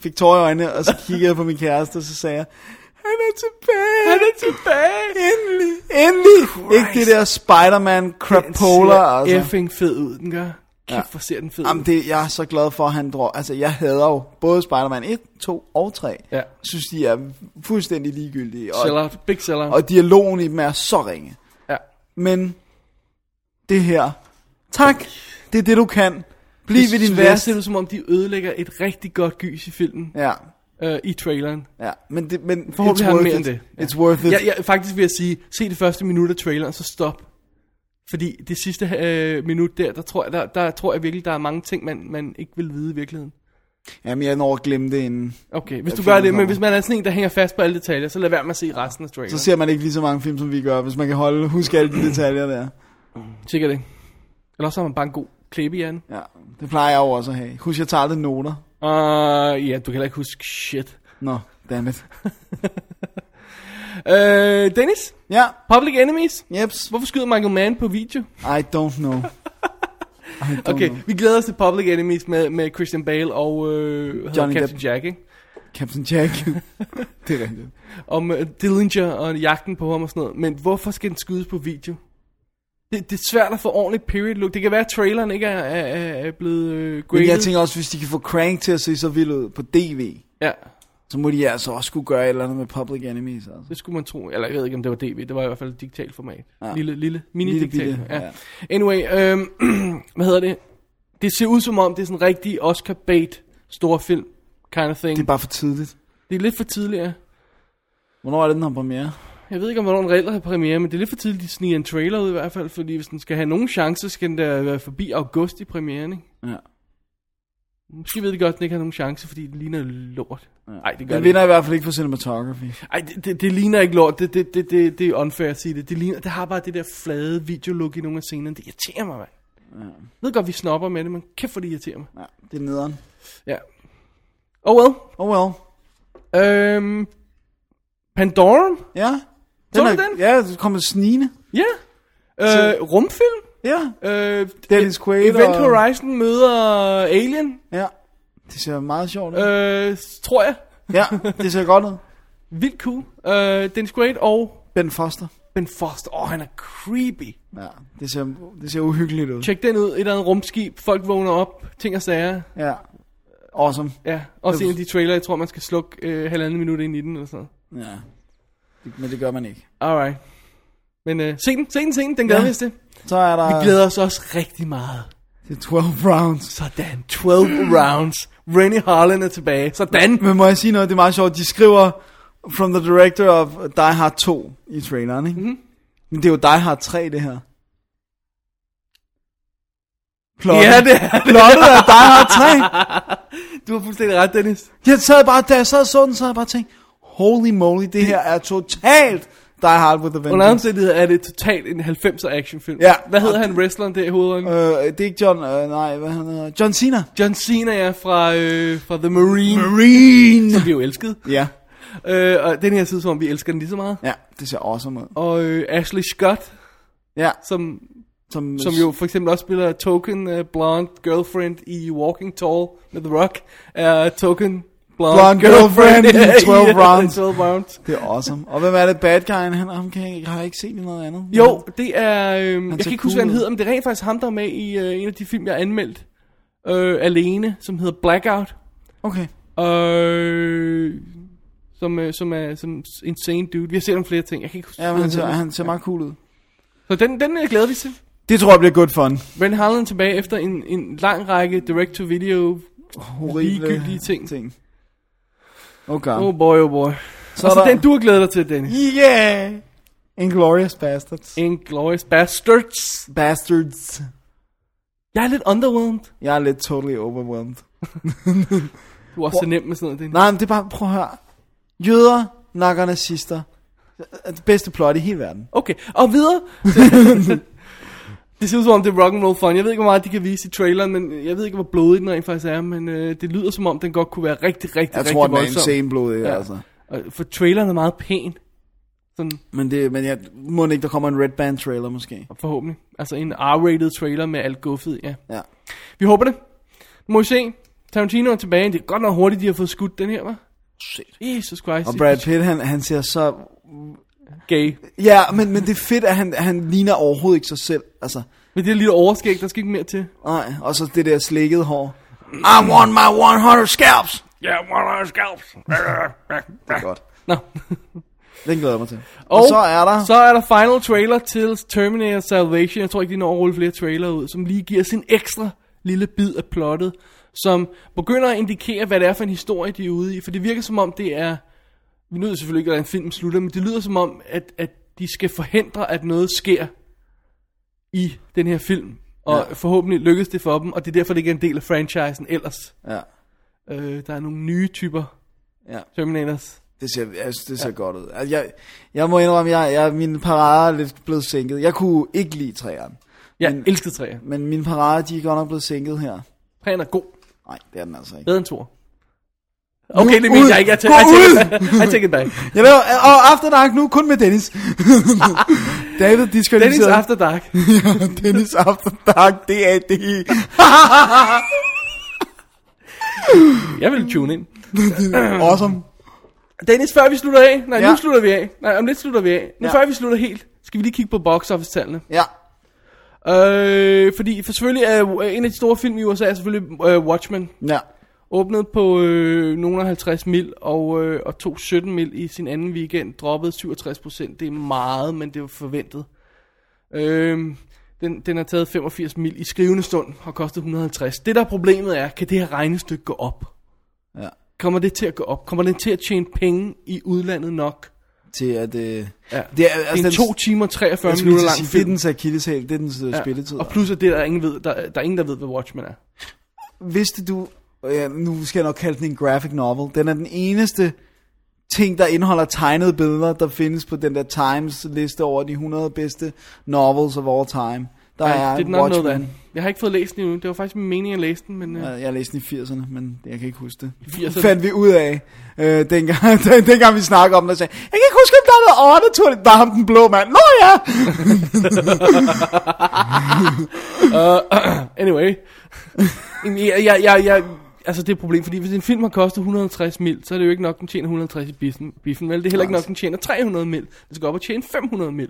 fik tårer i øjnene, og så kiggede jeg på min kæreste, og så sagde jeg, han er tilbage!
Han er tilbage! Endelig!
Endelig! Ikke det der Spider-Man crapola,
Den ser
altså.
effing fed ud, den gør. Kæft,
Ja.
ja. hvor ser den fed ud.
Jamen, det, jeg er så glad for, at han drog... Altså, jeg hader jo både Spider-Man 1, 2 og 3.
Ja.
synes, de er fuldstændig ligegyldige. Og,
Sellout, big sellout.
og dialogen i dem er så ringe.
ja.
Men det her. Tak. Det er det, du kan. Bliv ved din
værste.
værst.
ser ud som om, de ødelægger et rigtig godt gys i filmen,
Ja,
øh, i traileren.
ja. Men, det, men
Forhåbentlig
it's
har han
worth
mere
it.
end det. Ja.
It's worth it.
Jeg, jeg, faktisk vil jeg sige, se det første minut af traileren, så stop. Fordi det sidste øh, minut der, der tror, jeg, der, der tror jeg virkelig, der er mange ting, man, man ikke vil vide i virkeligheden.
Jamen, jeg når at glemme det inden.
Okay, hvis
Ja,
du gør det,
filmen
men hvis man er sådan en, der hænger fast på alle detaljer, så lad være med at se resten af traileren.
Så
Så
ser man ikke lige så mange film, som vi gør, hvis man kan holde, huske alle de detaljer der.
Sikkert det. Eller også har man bare en god klæbe i anden.
Ja, det plejer jeg jo også at have. Husk, jeg tager aldrig noter.
Uh, ja, du kan heller ikke huske shit.
Nå, dammit.
Øh, Dennis?
Ja,
Public Enemies?
jeps.
Hvorfor skyder Michael Mann på video?
I don't know. I don't
Okay,
know.
vi glæder os til Public Enemies med, med Christian Bale og øh, Johnny
Johnny
Captain
Depp.
Jack, ikke?
Captain Jack. det er rigtigt.
Om øh, Dillinger og jagten på ham og sådan noget. Men hvorfor skal den skydes på video? Det, det er svært at få ordentligt period look. Det kan være, at traileren ikke er, er, er- er blevet øh,
Men
graded.
jeg tænker også, hvis de kan få Crank til at se så vild ud på DV,
Ja,
så må de altså også kunne gøre et eller andet med Public Enemies. Altså.
det skulle man tro. Eller jeg ved ikke, om det var DV. Det var i hvert fald et digitalt format.
Ja.
Ja. Lille, lille,
Lille
mini-digitalt.
bitte,
ja.
ja.
ja. Anyway, øhm, hvad hedder det? Det ser ud som om, det er sådan en rigtig Oscar-bait stor film kind of thing.
Det
Det,
er bare for tidligt.
det er lidt for tidligt, ja.
Hvornår er det, den har premiere?
Jeg ved ikke, om hvornår den reelt har premiere, men det er lidt for tidligt, de sniger en trailer ud i hvert fald, fordi hvis den skal have nogen chance, skal den da være forbi august i premieren, ikke?
Ja.
Måske ved de godt, at den ikke har nogen chance, fordi det ligner lort. Nej, det gør
Den
det ikke.
vinder i hvert fald ikke på cinematography.
Ej, det, det, det ligner ikke lort. Det, det, det, det, det er unfair at sige det. Det, ligner, det har bare det der flade videolook i nogle af scenerne. Det irriterer mig, mand. Ja. Jeg ved godt, vi snopper med det, men kæft for det irriterer mig.
Ja, det er nederen.
Ja. Oh well.
Oh well.
Øhm, Pandorum?
Ja.
Så du
er-
den?
Ja, det kommer snigende.
Ja. Øh, rumfilm?
Ja.
Øh,
Dennis Quaid
Event
og-
Horizon møder Alien,
Ja. Det ser meget sjovt ud.
øh, tror jeg.
Ja, det ser godt ud.
Vildt cool. Øh, Dennis Quaid og
Ben Foster.
Ben Foster. Åh, oh, han er creepy.
Ja, det ser, det ser uhyggeligt ud.
Tjek den ud. Et eller andet rumskib. Folk vågner op. Ting og sager.
Ja. Awesome.
Ja, også en af de trailer, jeg tror, man skal slukke øh, halvanden minut ind i den eller sådan noget.
Ja. Det- Men det gør man ikke.
Alright. Men øh, se den, se den, se den. Den glæder
Ja.
vi os til.
Så er der...
Vi glæder os også rigtig meget.
Det er 12 rounds.
Sådan, 12 rounds. Rennie Harlan er tilbage. Sådan.
Men må jeg sige noget, det er meget sjovt. De skriver from the director of Die Hard 2 i traileren, ikke?
Mhm.
Mm-hmm. Men det er jo Die Hard 3, det her. Plottet.
Ja, det er det.
Plottet er Die Hard 3.
Du har fuldstændig ret, Dennis.
Jeg sad bare, da jeg sad og så den, så havde jeg bare tænkt, holy moly, det her er totalt Die Hard with a Vengeance.
Under omstændighed er det totalt en 90'er actionfilm.
Ja.
Hvad hedder han, wrestleren der i hovedrollen? Uh.
Øh, det er ikke John, øh, nej, hvad han hedder, John Cena.
John Cena er fra, øh, fra The Marine.
Marine.
Som vi jo elskede.
Ja,
Øh, og den her side, som om vi elsker den lige så meget.
ja, det ser awesome ud.
Og øh, Ashley Scott,
Ja,
som
som,
som jo for eksempel også spiller Token uh, Blonde Girlfriend i Walking Tall med The Rock, er Token Blonde,
Blonde Girlfriend i 12
i, øh,
rounds.
12 rounds.
Det er awesome. Og hvem er det bad guyen? Han, ham kan jeg, ikke- har jeg ikke set i noget andet.
Jo, det er, øhm, jeg
ser
kan ikke huske, hvad
cool
han
ud.
hedder, men det er rent faktisk ham, der er med i øh, en af de film, jeg har anmeldt øh, alene, som hedder Blackout,
Okay.
øh, som, øh, som er som insane dude. Vi har set om flere ting, jeg kan ikke huske.
Ja, men
hvad
han ser,
hedder.
han ser meget cool ud.
Så den, den øh, glæder vi til.
Det tror jeg bliver good fun.
Ren Harlan er tilbage efter en, en lang række direct-to-video. Ligegyldige ting.
ting. Oh god.
Oh boy, oh boy.
så
Og så
er der...
den, du har glædet dig til, Dennis.
Yeah! Inglourious Bastards.
Inglourious Bastards.
Bastards.
Jeg er lidt underwhelmed.
Jeg er lidt totally overwhelmed.
Du er også så nem med sådan noget. Dennis.
Nej, men det er bare, prøv at høre. Jøder nakker nazister. Det er Det bedste plot i hele verden.
Okay, og videre. det ser ud som om, det er rock'n'roll fun. Jeg ved ikke, hvor meget de kan vise i traileren, men øh, jeg ved ikke, hvor blodig den rent faktisk er. Men øh, det lyder som om, den godt kunne være rigtig, rigtig,
Jeg
rigtig
tror, den er
voldsom.
insane blodig, ja.
Ja.
altså.
Og, for traileren er meget pæn. Sådan,
Men, det, men jeg må ikke, der kommer en Red Band trailer måske.
forhåbentlig. Altså en R-rated trailer med alt guffet, ja.
Ja.
Vi håber det. Nu må vi se. Tarantino er tilbage. Det er godt nok hurtigt, de har fået skudt den her, var.
Shit.
Jesus Christ.
Og Brad Pitt, han, han ser så
Gay.
Ja, men, men det er fedt, at han, han ligner overhovedet ikke sig selv. Altså,
Men det er lige overskæg, der skal ikke mere til.
nej. Og så det der slikkede hår. I want my 100 scalps!
Yeah, one of those scalps.
Det er godt.
Nå.
Den glæder jeg mig til. Og, og så er der...
Så er der final trailer til Terminator Salvation. Jeg tror ikke, de når at rulle flere trailer ud, som lige giver os en ekstra lille bid af plottet, som begynder at indikere, hvad det er for en historie, de er ude i. For det virker som om, det er... Vi nødt selvfølgelig ikke, hvordan filmen slutter, men det lyder som om, at, at de skal forhindre, at noget sker i den her film. Og ja. forhåbentlig lykkes det for dem, og det er derfor, det ikke er en del af franchisen ellers.
Ja,
Øh, der er nogle nye typer
ja.
Terminators.
Det ser, jeg synes, det ser ja. godt ud. Altså, jeg, jeg må indrømme, jeg, jeg, min parade er lidt blevet sænket. Jeg kunne ikke lide træerne.
Jeg
Men-
elskede træer.
Men min parade, de er godt nok blevet sænket her.
Træerne er god.
Nej, det er den altså ikke.
Bedre end Thor. Okay, det
ud!
mener jeg ikke. Jeg
Gå
tager, jeg
ud!
tager, jeg tager back.
Jeg ved, og After Dark nu kun med Dennis. David
Dennis
diskvalificeret.
After Dark.
Dennis After Dark, det er det.
Jeg vil tune ind.
Awesome.
Dennis, før vi slutter af. Nej, ja.
Ja.
nu slutter vi af. Nej, om lidt slutter vi af. Nu
Ja.
ja. før vi slutter helt, skal vi lige kigge på box office-tallene.
Ja,
Øh, fordi for selvfølgelig er øh, en af de store film i USA er selvfølgelig øh, Watchmen.
ja.
Åbnet på øh, nogle af 50 mil og, øh, og tog 17 mil i sin anden weekend. Droppede 67 procent. Det er meget, men det var forventet. Øh, den, den har taget 85 mil i skrivende stund og kostet 150. Det der er problemet er, kan det her regnestykke gå op?
ja.
Kommer det til at gå op? Kommer det til at tjene penge i udlandet nok?
Altså, til at... Øh,
Ja.
det er,
Altså, det er en 2 timer og 43
jeg skulle
minutter
lige
lang
sige, Det er
film.
dens akilleshæl, det er dens ja. spilletid. altså.
Og plus at det, der er ingen, ved, der, der er ingen, der ved, hvad Watchmen er.
Vidste du... Ja, nu skal jeg nok kalde den en graphic novel. Den er den eneste ting, der indeholder tegnede billeder, der findes på den der Times liste over de 100 bedste novels of all time. Der er
I did not know that. Jeg har ikke fået læst den endnu. Det var faktisk min mening at læse den, men...
Ja,
Øh,
Jeg læste den i 80'erne, men jeg kan ikke huske det.
80'erne?
Fandt vi ud af, øh, dengang, den, dengang vi snakkede om det, og sagde, jeg kan ikke huske, om der er noget overnaturligt, der er ham den blå mand. Nå ja!
anyway. Jamen, jeg, jeg, jeg, jeg, altså, det er et problem, fordi hvis en film har kostet 160 mil, så er det jo ikke nok, den tjener 160 i biffen, biffen vel? Det er heller ikke nok, den tjener 300 mil. Den skal op og tjene 500 mil.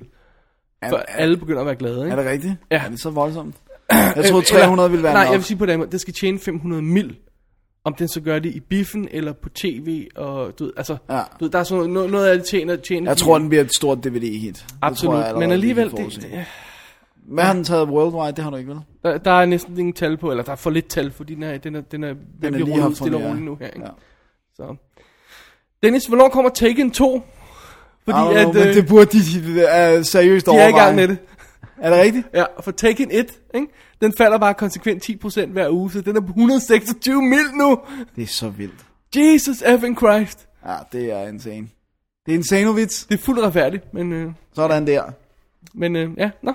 For alle begynder at være glade, ikke?
Er det rigtigt?
Ja.
Er det så voldsomt? Jeg troede
Eller-
300 ville være
Nej,
nok.
jeg vil sige på den måde, det skal tjene 500 mil. Om den så gør det i biffen eller på tv, og du ved, altså,
Ja.
du ved, der er sådan noget, noget af det tjener, tjener
Jeg
de-
tror, den bliver et stort DVD-hit. Det tror
absolut,
jeg allerede,
men
vi
alligevel,
kan
det,
forudse. Hvad har den taget worldwide? Det har du ikke, vel?
der, der, er næsten ingen tal på, eller der er for lidt tal, fordi den er, den er, den er, den er
lige
lige
haft
stille og
premiere.
roligt nu her, ikke?
Ja.
Ja. Så. Dennis, hvornår kommer Taken 2? Fordi
Fordi
at,
know, men
øh,
det burde de uh, seriøst
de er i
overveje.
gang med det.
Er det rigtigt?
Ja, for Taken 1, ikke? den falder bare konsekvent 10% hver uge, så den er på 126 mil nu.
Det er så vildt.
Jesus effing Christ.
Ja, det er insane. Det er insane, vits.
Det er fuldt retfærdigt, men, øh,
Sådan der.
men øh, ja, nå.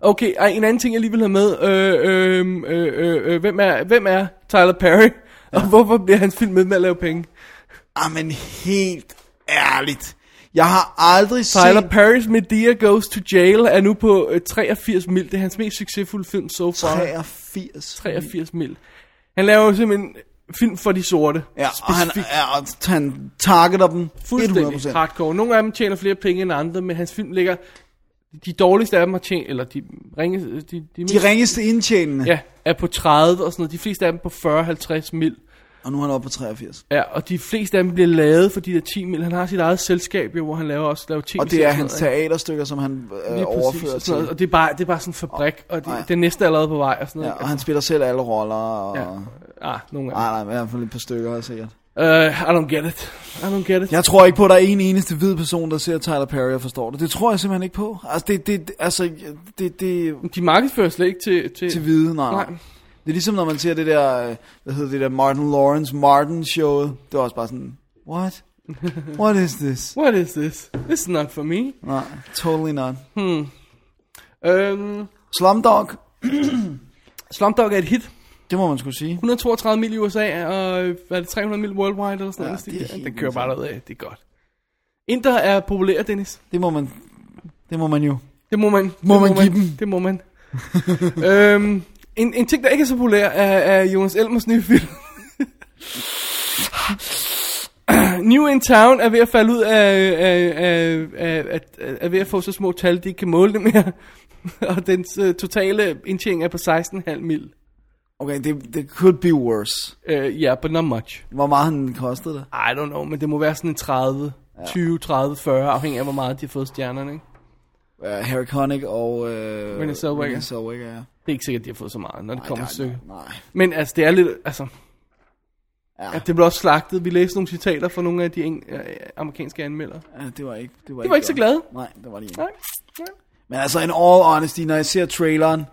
Okay, ej, en anden ting, jeg lige vil have med. Øh, øh, øh, øh, øh, hvem, er, hvem er Tyler Perry? Og hvorfor bliver hans film med med at lave penge?
Ah, men helt ærligt. Jeg har aldrig
Tyler
set
Perry's Medea Goes to Jail er nu på øh, 83 mil. Det er hans mest succesfulde film so far.
83.
83 mil. Han laver jo simpelthen film for de sorte.
Ja, og han,
specifikt.
ja, og han targeter dem
Fuldstændig
100%.
hardcore. Nogle af dem tjener flere penge end andre, men hans film ligger... De dårligste af dem har tjent... Eller de ringe... De, de, mest-
De ringeste indtjenende.
Ja, er på 30 og sådan noget. De fleste af dem på 40-50 mil.
Og nu er han oppe på 83.
Ja, og de fleste af dem bliver lavet for de der 10 mil. Han har sit eget selskab, jo, hvor han laver også laver ting.
Og det er hans teaterstykker, som han øh, overfører til.
sådan noget. Og det er bare, det er bare sådan en fabrik, og
Nej.
det, den næste er allerede på vej og sådan
Ja,
noget.
og han spiller selv alle roller. Og...
Ja. Ah, nogle gange.
Nej, nej, i hvert fald et par stykker har sikkert.
Uh, I don't get it. I don't get it.
Jeg tror ikke på, at der er en eneste hvid person, der ser Tyler Perry og forstår det. Det tror jeg simpelthen ikke på. Altså, det, det, altså, det, det,
De markedsfører slet ikke til... til,
til hvide, nej. nej.
Nej.
Det er ligesom, når man ser det der, øh, hvad hedder det der Martin Lawrence Martin showet. Det var også bare sådan, what? What is this?
What is this? This is not for me.
Nej, totally not.
Um,
Slumdog,
Slumdog er et hit.
det må man skulle sige.
132 mil i USA, og øh, hvad er det, 300 mil worldwide eller sådan
Ja,
noget.
det er
Det,
helt
den kører bare derud af. Det er godt. Inder er populær, Dennis.
Det må man, det må man jo.
Det må man. Må det
man give dem.
Det må man. øhm, en, en ting, der ikke er så populær, er, er Jonas Elmers nye film. New in Town er ved at falde ud af, af, af, af, af, er ved at få så små tal, de ikke kan måle det mere. og dens uh, totale indtjening er på 16,5 mil.
Okay, det, det could be worse.
Ja, uh, yeah, but not much.
Hvor meget han kostede det?
I don't know, men det må være sådan en 30, 20, 30, 40, afhængig af, hvor meget de har fået stjernerne. Ikke?
Uh, Harry Connick og... Uh,
Renée Zellweger.
Renée Zellweger, ja.
Det er ikke sikkert, de har fået så meget, når det kommer
Nej,
til stykket.
Nej,
Men altså, det er lidt, altså,
Ja.
at det blev også slagtet. Vi læste nogle citater fra nogle af de eng- øh, amerikanske anmeldere.
Ja, det var ikke... Det var,
De var ikke så
godt.
glade.
Nej, det var de ikke.
Nej. Nej.
Men altså, in all honesty, når jeg ser traileren,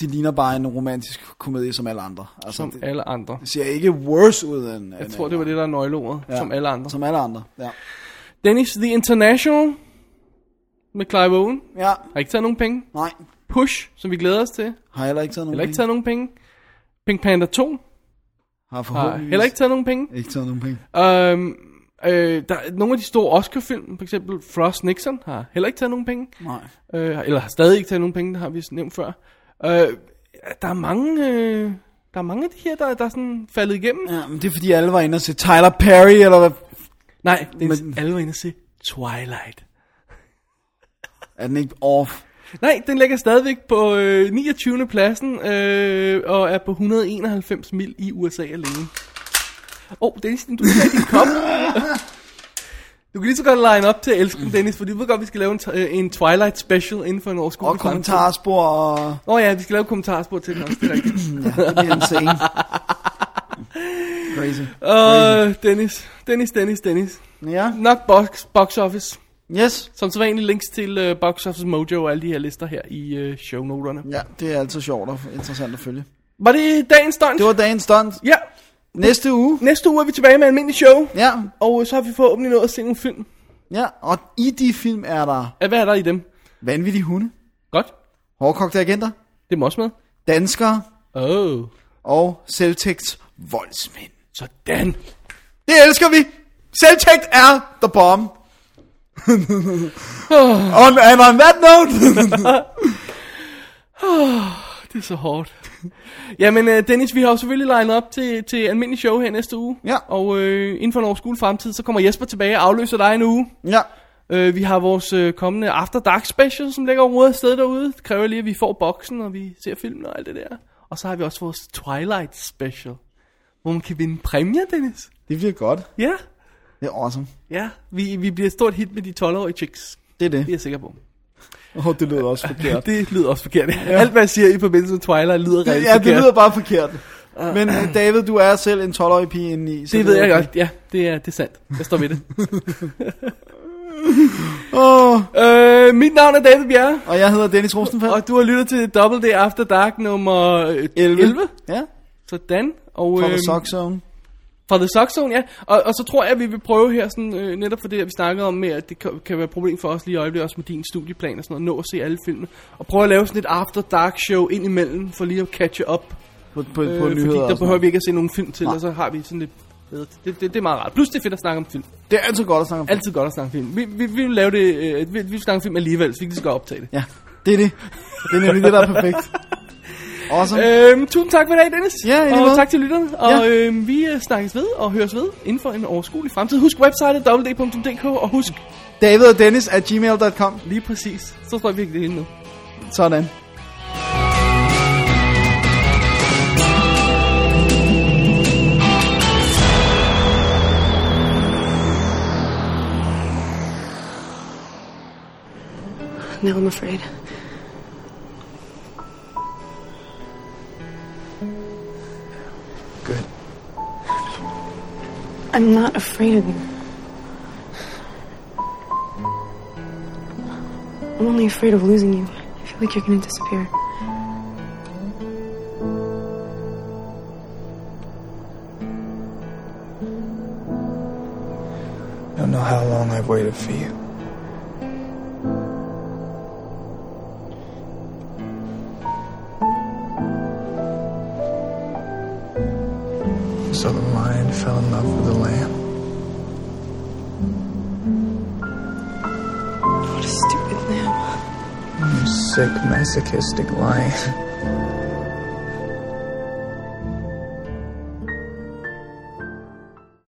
det ligner bare en romantisk komedie som alle andre. Altså,
Som
det,
alle andre.
det ser ikke worse ud end...
Jeg tror, det var det, der er nøgleordet. Ja. Som alle andre.
Som alle andre, ja.
Dennis The International med Clive Owen.
Ja,
Har ikke taget nogen penge.
nej.
Push, som vi glæder os til.
Har heller ikke taget nogen
Heller ikke taget nogen penge. Pink Panther 2.
Har
Har
forhåbentlig
heller ikke taget nogen penge.
ikke taget nogen penge.
Øhm, øh, der, er nogle af de store Oscar-film, for eksempel Frost Nixon, har heller ikke taget nogen penge.
Nej.
Øh, eller har stadig ikke taget nogen penge, det har vi vist nævnt før. Øh, der er mange... Øh, der er mange af de her, der, der er sådan faldet igennem. Ja.
Ja, men det er fordi alle var inde og se Tyler Perry, eller hvad?
Nej, det er
Men-
Men... alle var inde at se Twilight.
Er den ikke off?
Nej, den ligger stadigvæk på øh, 29. pladsen, øh, og er på 191 mil i USA alene. Åh, oh, Dennis, du skal have din kop. Du kan lige så godt line op til at elske den, Dennis, for du ved godt, vi skal lave en, t- øh, en Twilight special inden for en årskole.
Og kommentarspor og...
Åh oh, ja, vi skal lave kommentarspor til den også, det er rigtigt.
Det bliver insane. Crazy.
Øh, Åh, Dennis, Dennis, Dennis, Dennis.
Ja.
Nok box, box office.
Yes.
Som så vanligt links til uh, Box Office Mojo og alle de her lister her i uh, shownoterne.
Ja, det er altid sjovt og interessant at følge.
Var det dagens døgn?
Det var dagens stunt.
Ja,
Næste uge.
næste uge er vi tilbage med almindelig show.
Ja,
Og øh, så har vi forhåbentlig nået at se nogle film.
ja. Og i de film er der
Ja, Hvad er der i dem?
vanvittige hunde.
Godt.
Hårdkogte agenter,
Det må også med.
danskere
Oh.
og selvtægts voldsmænd.
Sådan.
Det elsker vi! Selvtægt er the bomb. on, and on that note...
Det er så hårdt. Jamen, øh, Dennis, vi har jo selvfølgelig legnet op til, til almindelig show her næste uge.
Ja.
Og øh, inden for en overskuelig fremtid, så kommer Jesper tilbage og afløser dig en uge.
ja,
Øh, vi har vores øh, kommende After Dark Special, som ligger overhovedet afsted derude. Det kræver lige, at vi får boksen, og vi ser filmen og alt det der. Og så har vi også vores Twilight Special, hvor man kan vinde præmier, Dennis.
det bliver godt.
Ja,
Det er awesome.
ja. Vi, vi bliver et stort hit med de 12-årige chicks.
Det er det.
Det er jeg sikker på.
Åh, oh, det lyder også forkert.
Det lyder også forkert. Ja. Alt, hvad jeg siger i forbindelse med Twilight, lyder rigtig
ja,
forkert. Ah.
det lyder bare forkert. Men øh, David, du er selv en 12-årig pige indeni. så
Det ved
er
jeg
okay.
godt, ja. Det er, det er sandt. Jeg står ved det.
Åh,
øh, mit navn er David Bjerre,
og jeg hedder Dennis Rosenfeldt.
og du har lyttet til Double Day After Dark nummer øh, 11. 11.
Ja,
Øhm. Sådan. Og,
fra The
øhm,
Sock Zone.
Fra The Sock Zone, ja. Og, og så tror jeg, at vi vil prøve her, sådan, øh, netop for det, at vi snakkede om med, at det kan, kan være et problem for os lige i øjeblikket, også med din studieplan og sådan noget, nå at se alle filmene. Og prøve at lave sådan et After Dark show ind imellem, for lige at catche up.
På, på, øh, på
fordi
nyheder
der
og sådan
behøver
noget.
vi ikke at se nogen film til,
Nej.
og så har vi sådan lidt bedre. Det, det, det, er meget rart. Plus det er fedt at snakke om film.
Det er altid godt at snakke om.
Altid godt at snakke film. Vi, vi, vi vil lave det, øh, vi, vi vil snakke film alligevel, så vi kan lige så godt optage det.
Ja, det er det. Det er nemlig det, der er perfekt. Awesome.
Øhm, tusind tak for i dag, Dennis.
Ja, i lige
og
måde.
tak til lytterne. Og
Ja.
øhm, vi øh, snakkes ved og høres ved inden for en overskuelig fremtid. Husk websitet www.dk og husk
David og Dennis at gmail.com.
lige præcis. Så står jeg virkelig det hele ned.
Sådan.
No, I'm afraid.
Good.
I'm not afraid of you. I'm only afraid of losing you. I feel like you're gonna disappear.
I don't know how long I've waited for you. So the lion fell in love with the lamb.
What a stupid lamb.
You sick, masochistic lion.